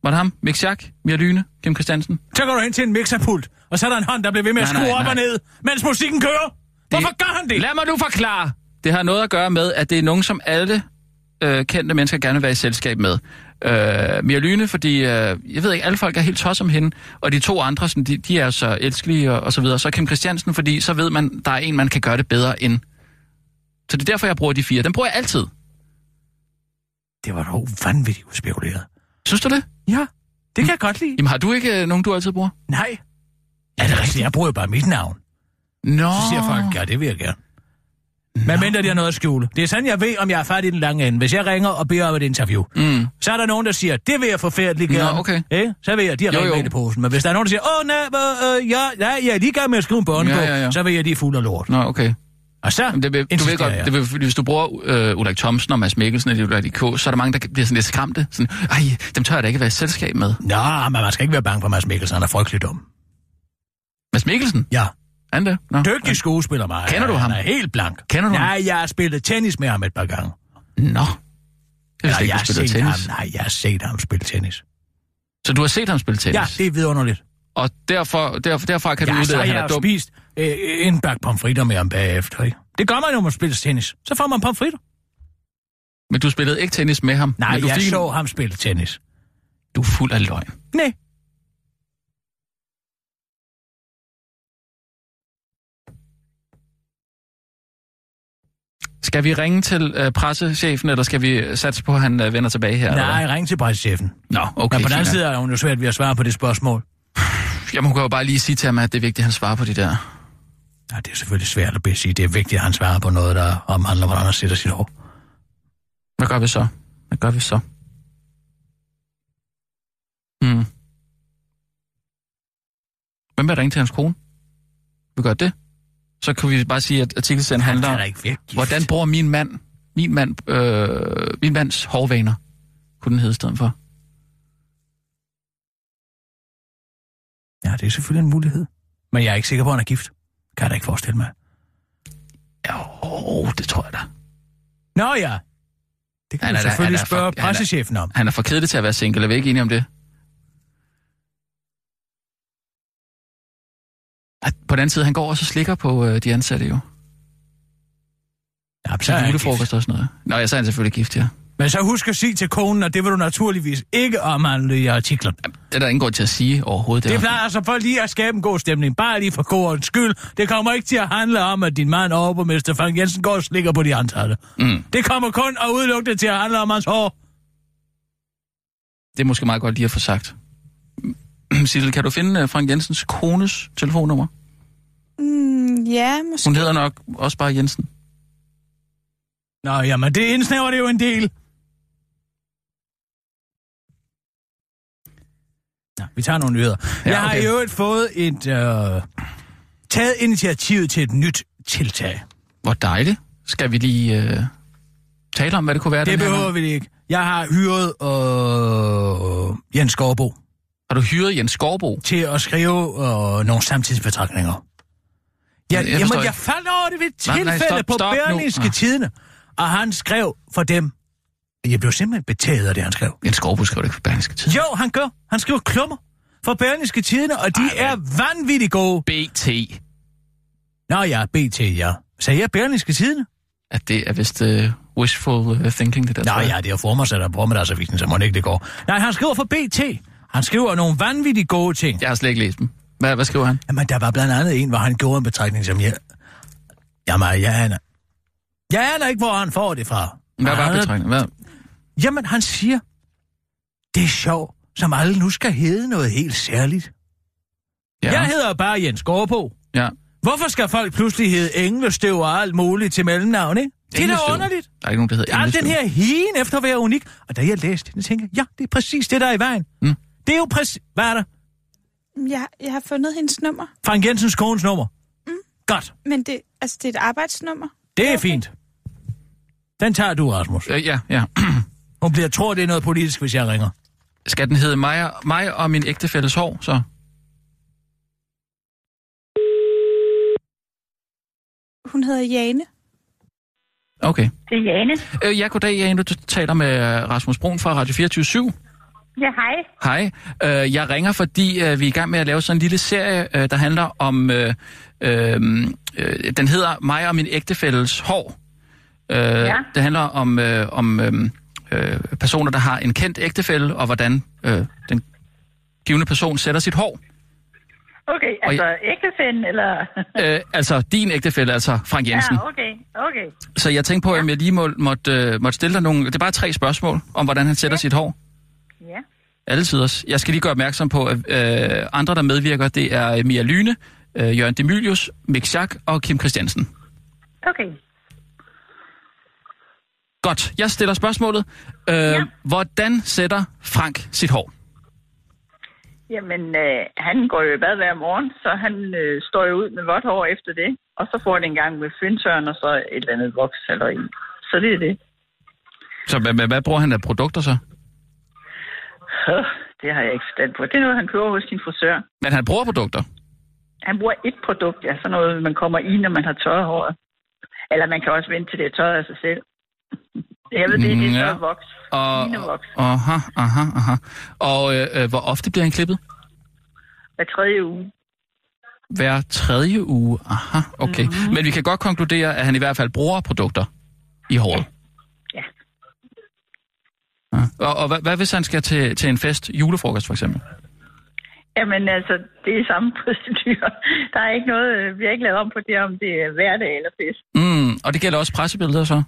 S4: Var det ham? Mick Schack, Mia Lyne, Kim Christiansen.
S5: Så går du hen til en mixerpult, og så er der en hånd, der bliver ved med at
S4: Nej,
S5: skrue
S4: nej,
S5: op
S4: nej.
S5: og ned, mens musikken kører. Hvorfor gør han det?
S4: Lad mig nu forklare. Det har noget at gøre med, at det er nogen, som alle øh, kendte mennesker gerne vil være i selskab med. Øh, Mia Lyne, fordi øh, jeg ved ikke, alle folk er helt tosset om hende, og de to andre, sådan, de, de er så elskelige og, og så videre. Så Kim Christiansen, fordi så ved man, der er en, man kan gøre det bedre end. Så det er derfor, jeg bruger de fire. Den bruger jeg altid.
S5: Det var dog vanvittigt udspekuleret.
S4: Synes du det?
S5: Ja, det kan jeg godt lide.
S4: Jamen har du ikke øh, nogen, du altid bruger?
S5: Nej. Er det rigtigt? Jeg bruger jo bare mit navn.
S4: Nå.
S5: Så siger folk, ja, det vil jeg gerne. Men mindre de har noget at skjule. Det er sådan, jeg ved, om jeg er færdig i den lange ende. Hvis jeg ringer og beder om et interview,
S4: Mm.
S5: så er der nogen, der siger, det vil jeg forfærdeligt
S4: Nå,
S5: gerne.
S4: okay.
S5: Eh? Så vil jeg, de har
S4: Jo, jo.
S5: rent i posen. Men hvis der er nogen, der siger, åh, nej, øh, øh, ja, nej, jeg er lige i gang med at skrive en
S4: Ja,
S5: børnebog,
S4: ja, ja.
S5: så vil jeg, de er fuld af lort.
S4: Nå, okay.
S5: Og så
S4: Jamen, det vil, du ved
S5: insisterer
S4: godt,
S5: jeg.
S4: det vil, fordi hvis du bruger øh, Ulrik Thomsen og Mads Mikkelsen eller Ulrik K., så er der mange, der bliver sådan lidt skræmte. Sådan, Ej, dem tør jeg da ikke være i selskab med.
S5: Nå, men man skal ikke være bange for Mads Mikkelsen, han er frygtelig dum.
S4: Mads Mikkelsen?
S5: Ja,
S4: Er han det? Nå.
S5: dygtig skuespiller, mig.
S4: Kender du ham?
S5: Han er helt blank.
S4: Kender du
S5: Nej,
S4: ham?
S5: Nej, jeg har spillet tennis med ham et par gange.
S4: Nå. Jeg
S5: Eller
S4: vidste ikke, du
S5: jeg har
S4: spiller
S5: set
S4: tennis.
S5: Ham. Nej, jeg har set ham spille tennis.
S4: Så du har set ham spille
S5: Ja,
S4: tennis?
S5: det er vidunderligt.
S4: Og derfor, derfor, derfra kan du
S5: Ja, så
S4: udlede,
S5: har
S4: at han
S5: jeg
S4: er
S5: jo
S4: dum.
S5: spist øh, en bakke pomfritter med ham bagefter, ikke? Det gør man, når man spiller tennis. Så får man pomfritter.
S4: Men du spillede ikke tennis med ham?
S5: Nej,
S4: men du
S5: jeg
S4: fik...
S5: så ham spille tennis.
S4: Du er fuld af løgn.
S5: Nej.
S4: Skal vi ringe til øh, pressechefen, eller skal vi satse på, at han øh, vender tilbage her? eller
S5: Nej, ring til pressechefen.
S4: hvad? Nå, okay.
S5: Men på den anden
S4: fint.
S5: side er hun jo svært ved at svare på det spørgsmål.
S4: Jeg må jo bare lige sige til ham, at det er vigtigt, at han svarer på det der.
S5: Nej, det er selvfølgelig svært at sige. Det er vigtigt, at han svarer på noget, der omhandler, hvordan han sætter sit hår.
S4: Hvad gør vi så? Hvad gør vi så? Hmm. Hvem vil ringe til hans kone? Vi gør det. Så kan vi bare sige, at artikelsend handler
S5: Han er
S4: om,
S5: da ikke væk.
S4: hvordan bruger min mand, min, mand, øh, min mands hårvaner, kunne den hedde i stedet for.
S5: Ja, det er selvfølgelig en mulighed. Men jeg er ikke sikker på, at han er gift. Kan jeg da ikke forestille mig.
S4: Jo, det tror jeg da.
S5: Nå ja. Det kan
S4: Han
S5: du
S4: er da-
S5: selvfølgelig
S4: han er
S5: spørge
S4: fra- han er-
S5: pressechefen om.
S4: Han er for kedelig til at være single, er vi ikke enige om det? At på den anden side, han går også og slikker på øh, de ansatte jo.
S5: Ja, så
S4: Til
S5: er han gift.
S4: julefrokost og sådan noget. Nå ja, så er han selvfølgelig gift, ja.
S5: Men så husk at sige til konen, at det vil du naturligvis ikke omhandle i artiklen.
S4: Det er der ingen grund til at sige overhovedet.
S5: Det
S4: er-
S5: plejer altså for lige at skabe en god stemning, bare lige for godens skyld. Det kommer ikke til at handle om, at din mand overborgmester Frank Jensen går og slikker på de ansatte.
S4: Mm.
S5: Det kommer kun og udelukkende til at handle om hans hår.
S4: det er måske meget godt lige at få sagt. Sissel, kan du finde øh, Frank Jensens kones telefonnummer?
S6: Mm, ja, måske.
S4: Hun hedder nok også bare Jensen.
S5: Nå, jamen det indsnæver det jo en del. Nå, vi tager nogle nyheder.
S4: Ja,
S5: Ja, Jeg har
S4: okay.
S5: i øvrigt fået et... Øh, taget initiativet til et nyt tiltag.
S4: Hvor dejligt. Skal vi lige øh, tale om, hvad det kunne være?
S5: Det
S4: den her
S5: behøver
S4: gang?
S5: vi ikke. Jeg har hyret øh, Jens Skorbo
S4: Har du hyret Jens Skorbo?
S5: til at skrive øh, nogle samtidsbetragtninger. Jeg,
S4: Jeg
S5: jeg
S4: forstår
S5: jamen, jeg
S4: ikke.
S5: faldt over det ved et
S4: Nej, nej,
S5: tilfælde
S4: stop,
S5: på
S4: stop nu.
S5: Berlingske
S4: Ah.
S5: Tidene, og han skrev for dem. Jeg blev simpelthen betaget af det, han skrev.
S4: Jens Skorbo skrev det ikke for Berlingske Tid.
S5: Jo, han gør. Han skriver klummer for Berlingske Tidene, og de Ej, er vanvittigt gode.
S4: BT.
S5: Nå ja, BT, ja. Sagde jeg Berlingske Tidene?
S4: At det er vist øh, wishful øh, thinking, det der.
S5: Nå
S4: tror jeg.
S5: ja, det er jo formiddag, der bruger med deres så må det ikke det går. Nej, han skriver for BT. Han skriver nogle vanvittigt gode ting.
S4: Jeg har slet ikke læst dem. Hvad, hvad skriver han?
S5: Jamen, der var blandt andet en, hvor han gjorde en betragtning, som jeg... Jamen, jeg aner... Jeg aner ikke, hvor han får det fra.
S4: Hvad var
S5: Han-
S4: betragtningen? Hvad?
S5: Jamen, han siger, det er sjovt, som alle nu skal hedde noget helt særligt. Ja. Jeg hedder bare Jens Gårdbo.
S4: ja.
S5: Hvorfor skal folk pludselig hedde englestøv og alt muligt til mellemnavn, ikke? Det er da
S4: Englestøv.
S5: underligt.
S4: Der er ikke nogen, der hedder
S5: Ja,
S4: Englestøv.
S5: den her hien efter at være unik. Og da jeg læste den, tænkte jeg, ja, det er præcis det, der er i vejen.
S4: Mm.
S5: Det er jo præcis... Hvad er der?
S6: Jeg, jeg har fundet hendes nummer,
S5: Frank Jensens kones nummer. Mm. Godt.
S6: men det, altså, det er et arbejdsnummer.
S5: Det er fint. Den tager du, Rasmus.
S4: Øh, ja, ja.
S5: Hun bliver tror, det er noget politisk, hvis jeg ringer.
S4: Skal den hedde mig, mig og min ægtefælles hår, så?
S6: Hun hedder Jane.
S4: Okay.
S8: Det er Jane.
S4: Øh, ja, goddag, Jane. Du taler med øh, Rasmus Brun fra Radio 24
S8: Ja, hej.
S4: Hej. Øh, jeg ringer, fordi øh, vi er i gang med at lave sådan en lille serie, øh, der handler om... Øh, øh, øh, den hedder Mig og min ægtefælles hår. Øh, ja. Det handler om, øh, om øh, øh, personer, der har en kendt ægtefælle, og hvordan øh, den givende person sætter sit hår.
S8: Okay, altså ægtefænden, eller...
S4: Øh, altså din ægtefælle, altså Frank Jensen.
S8: Ja, okay, okay.
S4: Så jeg tænkte på, om jeg lige må, måtte, øh, måtte stille dig nogle... Det er bare tre spørgsmål om, hvordan han sætter ja. sit hår.
S8: Ja.
S4: Alle tiders. Jeg skal lige gøre opmærksom på, at øh, andre, der medvirker, det er øh, Mia Lyne, øh, Jørgen Demilius, Mick Schack og Kim Christiansen.
S8: Okay.
S4: Godt, jeg stiller spørgsmålet. Øh, ja. Hvordan sætter Frank sit hår?
S8: Jamen, øh, han går jo i bad hver morgen, så han øh, står jo ud med vådt hår efter det. Og så får det en gang med fyndtørn og så et eller andet voks eller en. Så det er det.
S4: Så hvad, hvad, hvad bruger han af produkter så?
S8: Øh, det har jeg ikke forstand på. Det er noget, han køber hos sin frisør.
S4: Men han bruger produkter.
S8: Han bruger et produkt, ja, sådan noget, man kommer i, når man har tørret hår. Eller man kan også vente til det er tørret af sig selv. Jeg ved, det er det
S4: Ja.
S8: ja. voks.
S4: Og,
S8: Linevoks.
S4: aha, aha, aha. Og øh, øh, hvor ofte bliver han klippet?
S8: Hver tredje uge.
S4: Hver tredje uge. Aha, okay.
S8: Mhm.
S4: Mm-hmm. Men vi kan godt konkludere, at han i hvert fald bruger produkter i håret.
S8: Ja.
S4: Ja. Og, og hvad, hvad hvis han skal til, til en fest, julefrokost for eksempel?
S8: Jamen altså, det er samme procedur. Der er ikke noget, øh, vi har ikke lavet om på det, om det er hverdag eller fest.
S4: Mm, og det gælder også pressebilleder så?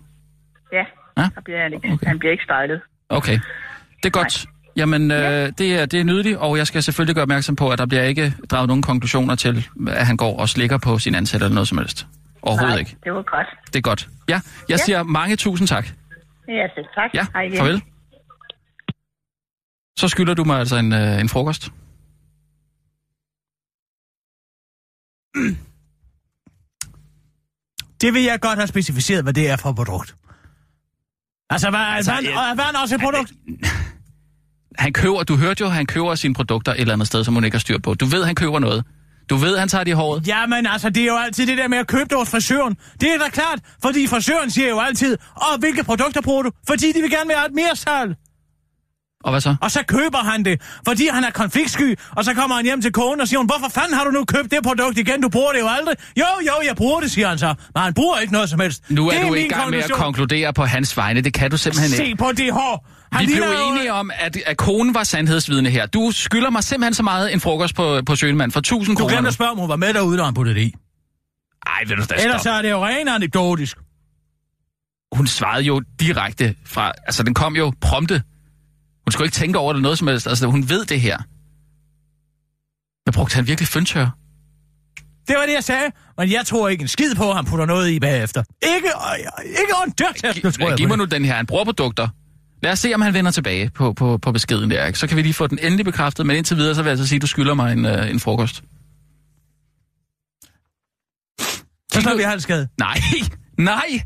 S8: Ja,
S4: Ja?
S8: der bliver han ikke.
S4: Okay.
S8: Okay. Han bliver ikke stylet.
S4: Okay, det er godt. Jamen, øh, det, er, det er nydeligt, og jeg skal selvfølgelig gøre opmærksom på, at der bliver ikke draget nogen konklusioner til, at han går og slikker på sin ansatte eller noget som helst. Overhovedet
S8: Nej,
S4: ikke.
S8: det var godt.
S4: Det er godt. Ja, jeg ja. siger mange tusind tak.
S8: Ja, selv tak.
S4: Ja,
S8: Hej igen.
S4: farvel. så skylder du mig altså en, øh, en frokost.
S5: Det vil jeg godt have specificeret, hvad det er for et produkt. Altså, hvad, altså, er, vand,
S4: jeg-
S5: er vand også et produkt?
S4: Han køber, du hørte jo, han køber sine produkter et eller andet sted, som hun ikke har styr på. Du ved, han køber noget. Du ved, han tager det i håret.
S5: Jamen altså, det er jo altid det der med at købe det hos frisøren. Det er da klart, fordi frisøren siger jo altid, og hvilke produkter bruger du? Fordi de vil gerne være et mere salg.
S4: Og hvad så?
S5: Og så køber han det, fordi han er konfliktsky, og så kommer han hjem til konen og siger, hun, hvorfor fanden har du nu købt det produkt igen? Du bruger det jo aldrig. Jo, jo, jeg bruger det, siger han så. Men han bruger ikke noget som helst.
S4: Nu er,
S5: det
S4: er du
S5: min
S4: i gang med at
S5: konklusion.
S4: konkludere på hans vegne. Det kan du simpelthen ikke.
S5: Se på det hår. Han
S4: Vi blev
S5: ligner jo- øh,
S4: enige om, at, at konen var sandhedsvidne her. Du skylder mig simpelthen så meget en frokost på, på Sjønemann for 1000
S5: Du
S4: kroner.
S5: glemte at spørge, om hun var med derude, når han puttede det i.
S4: Ej, vil du da
S5: Ellers
S4: stoppe.
S5: så er det jo rent anekdotisk.
S4: Hun svarede jo direkte fra... Altså, den kom jo prompte. Hun skulle ikke tænke over det noget som helst. Altså, hun ved det her. Men brugte han virkelig fyndtør?
S5: Det var det, jeg sagde. Men jeg tror ikke en skid på, at han putter noget i bagefter. Ikke, øh, ikke ondt dørtæskel, tror jeg.
S4: Giv
S5: på
S4: mig
S5: det.
S4: nu den her. Han bruger produkter. Lad os se, om han vender tilbage på, på, på beskeden der. Ikke? Så kan vi lige få den endelig bekræftet. Men indtil videre, så vil jeg altså sige, at du skylder mig en, øh, en frokost.
S5: Så slår vi halvskade.
S4: Nej, nej.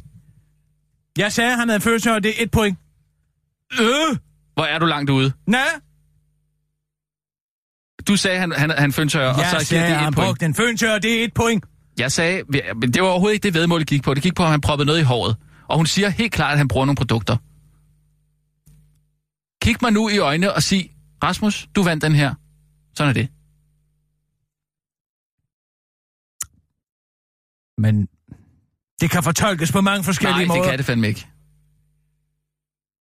S5: Jeg sagde, at han havde følelse, og det er et point. Øh,
S4: Hvor er du langt ude?
S5: nej.
S4: Du sagde, han, han, han fyndtør, og
S5: Jeg
S4: så giver
S5: sagde,
S4: det
S5: at
S4: et
S5: han
S4: point.
S5: brugte en føntør, og det er et point.
S4: Jeg sagde, men det var overhovedet ikke det vedmål, det gik på. Det gik på, at han proppede noget i håret. Og hun siger helt klart, at han bruger nogle produkter. Kig mig nu i øjnene og sig, Rasmus, du vandt den her. Sådan er det.
S5: Men det kan fortolkes på mange forskellige
S4: Nej,
S5: måder.
S4: det kan det fandme ikke.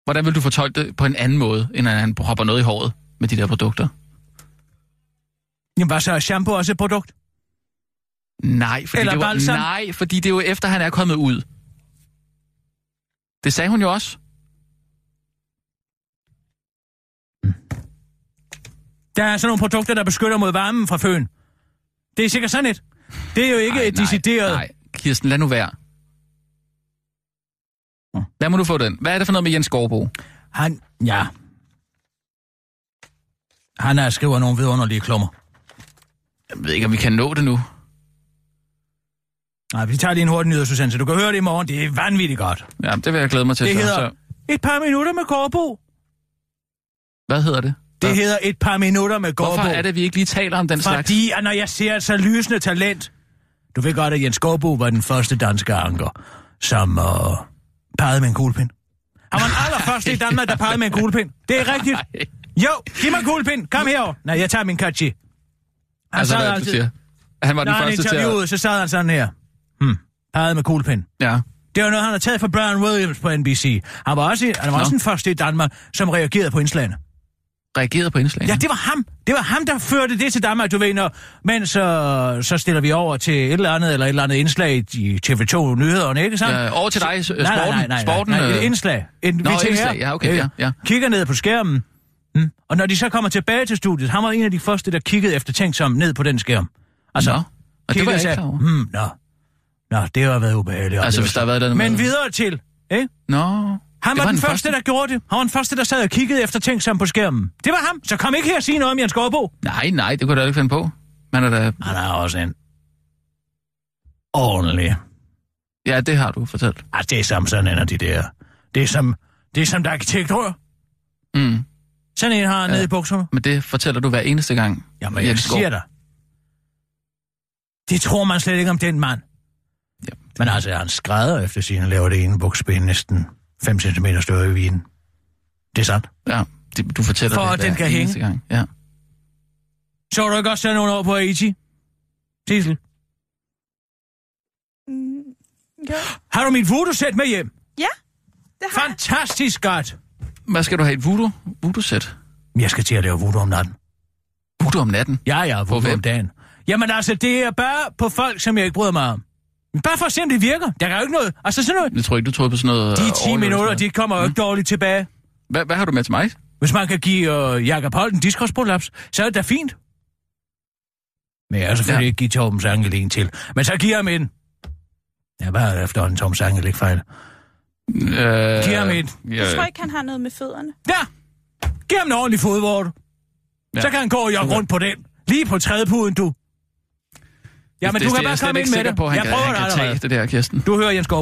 S4: Hvordan vil du fortolke det på en anden måde, end at han propper noget i håret med de der produkter?
S5: Jamen, var så er shampoo også et produkt?
S4: Nej, fordi,
S5: Eller
S4: det var,
S5: balsam?
S4: nej, fordi det er jo efter, han er kommet ud. Det sagde hun jo også.
S5: Der er sådan nogle produkter, der beskytter mod varmen fra føn. Det er sikkert sådan et. Det er jo ikke
S4: Ej,
S5: et decideret...
S4: Nej, Kirsten, lad nu være. Lad mig nu få den. Hvad er det for noget med Jens Skorbo?
S5: Han, ja. Han er skriver nogle vidunderlige klummer.
S4: Jeg ved ikke, om vi kan nå det nu.
S5: Nej, vi tager lige en hurtig nyhedsudsendelse. Du kan høre det i morgen. Det er vanvittigt godt.
S4: Ja, det vil jeg glæde mig til.
S5: Det
S4: så.
S5: hedder
S4: Så,
S5: et par minutter med Gårdbo.
S4: hvad hedder det?
S5: Det
S4: Hvad-
S5: hedder et par minutter med Gårdbo.
S4: Hvorfor er det, at vi ikke lige taler om den slags?
S5: Fordi, at når jeg ser et så lysende talent... Du ved godt, at Jens Gårdbo var den første danske anker, som øh, pegede med en kuglepind. Han var den allerførste i Danmark, der pegede med en kuglepind. Det er rigtigt. Jo, giv mig en kuglepind. Kom herover. Nej, jeg tager min kachi. Han
S4: Altså,
S5: sad
S4: hvad er det, du
S5: altid-
S4: siger? Han var
S5: Når
S4: den
S5: han
S4: første til at...
S5: interviewede, så sad han sådan her. Hmm. Pegede med kuglepind.
S4: Ja.
S5: Det var noget, han har taget fra Brian Williams på NBC. Han var også, han var
S4: Nå.
S5: også den første i Danmark, som reagerede på indslagene.
S4: Reagerede på indslaget.
S5: Ja, det var ham. Det var ham, der førte det til Danmark, du ved, når, men så, så stiller vi over til et eller andet, eller et eller andet indslag i- i TV2 Nyhederne, ikke sandt?
S4: Ja, over til dig, s- øh,
S5: nej,
S4: sporten.
S5: nej, nej, nej,
S4: Sporten,
S5: nej, nej, et
S4: øh,
S5: indslag. En
S4: Nå,
S5: VTR.
S4: indslag. Ja, okay, ja, ja.
S5: Øh, Kigger ned på skærmen, mm. og når de så kommer tilbage til studiet, han var en af de første, der kiggede efter ting som ned på den skærm. Altså,
S4: Nå. Og det var jeg ikke klar over.
S5: hmm, nå. nå, det har været ubehageligt.
S4: Altså, hvis der har været den...
S5: Men videre til, ikke?
S4: Nå.
S5: Han var, var den, første, der gjorde det. Han var den første, der sad og kiggede efter ting som på skærmen. Det var ham. Så kom ikke her og sige noget om Jens Gårdbo.
S4: Nej, nej, det kunne du da ikke finde på. Man er da...
S5: Han er også en ordentlig...
S4: Ja, det har du fortalt.
S5: Ah, det er som sådan en af de der... Det er som, det er som der arkitektrør.
S4: Mm.
S5: Sådan en har han
S4: Ja.
S5: ja. nede i bukserne.
S4: Men det fortæller du hver eneste gang.
S5: Jamen, jeg siger dig. Det tror man slet ikke om den mand.
S4: Ja.
S5: Men altså, han skrædder efter sine laver det ene bukspænd næsten 5 cm større i vinen. Det er sandt.
S4: Ja, det, du fortæller
S5: For
S4: det
S5: at den
S4: hver
S5: kan hænge.
S4: eneste gang. Ja.
S5: Så du ikke også sådan nogle år på Haiti? Tissel.
S6: Mm, jo.
S5: Har du mit voodoo-sæt med hjem?
S6: Ja, det har jeg.
S5: Fantastisk godt.
S4: Hvad skal du have? Et voodoo? Voodoo-sæt?
S5: Men Jeg skal til at lave voodoo om natten.
S4: Voodoo om natten?
S5: Ja, ja, voodoo
S4: hvem?
S5: om dagen. Jamen altså, det er bare på folk, som jeg ikke bryder mig om. Men Bare for at se, om det virker. Der er jo ikke noget. Altså sådan noget.
S4: Jeg tror ikke, du troede på sådan noget... øh,
S5: De 10
S4: overlevelse.
S5: minutter, de kommer jo ikke dårligt tilbage.
S4: Hvad, hvad har du med til mig?
S5: Hvis man kan give øh, Jakob Holt en diskusprolaps, så er det da fint. Men jeg har selvfølgelig
S4: Ja.
S5: ja. ikke give Torben Sangel en til. Men så giver ham en. Ja, hvad er det efterhånden, Torben Sangel ikke fejl?
S4: Øh,
S5: Giv ham et.
S6: Jeg tror ikke, han har noget med fødderne.
S5: Ja! Giv ham en ordentlig fodvort.
S4: Ja.
S5: Ja. Så kan han gå og jogge rundt på den. Lige på trædepuden, du. Jamen,
S4: det,
S5: du
S4: det
S5: kan
S4: er jeg
S5: bare
S4: slet
S5: komme
S4: ikke
S5: ind med
S4: sikker
S5: det.
S4: På, at han
S5: jeg
S4: kan,
S5: prøver
S4: han
S5: det
S4: kan
S5: allerede.
S4: tage det der, Kirsten.
S5: Du hører Jens Gård.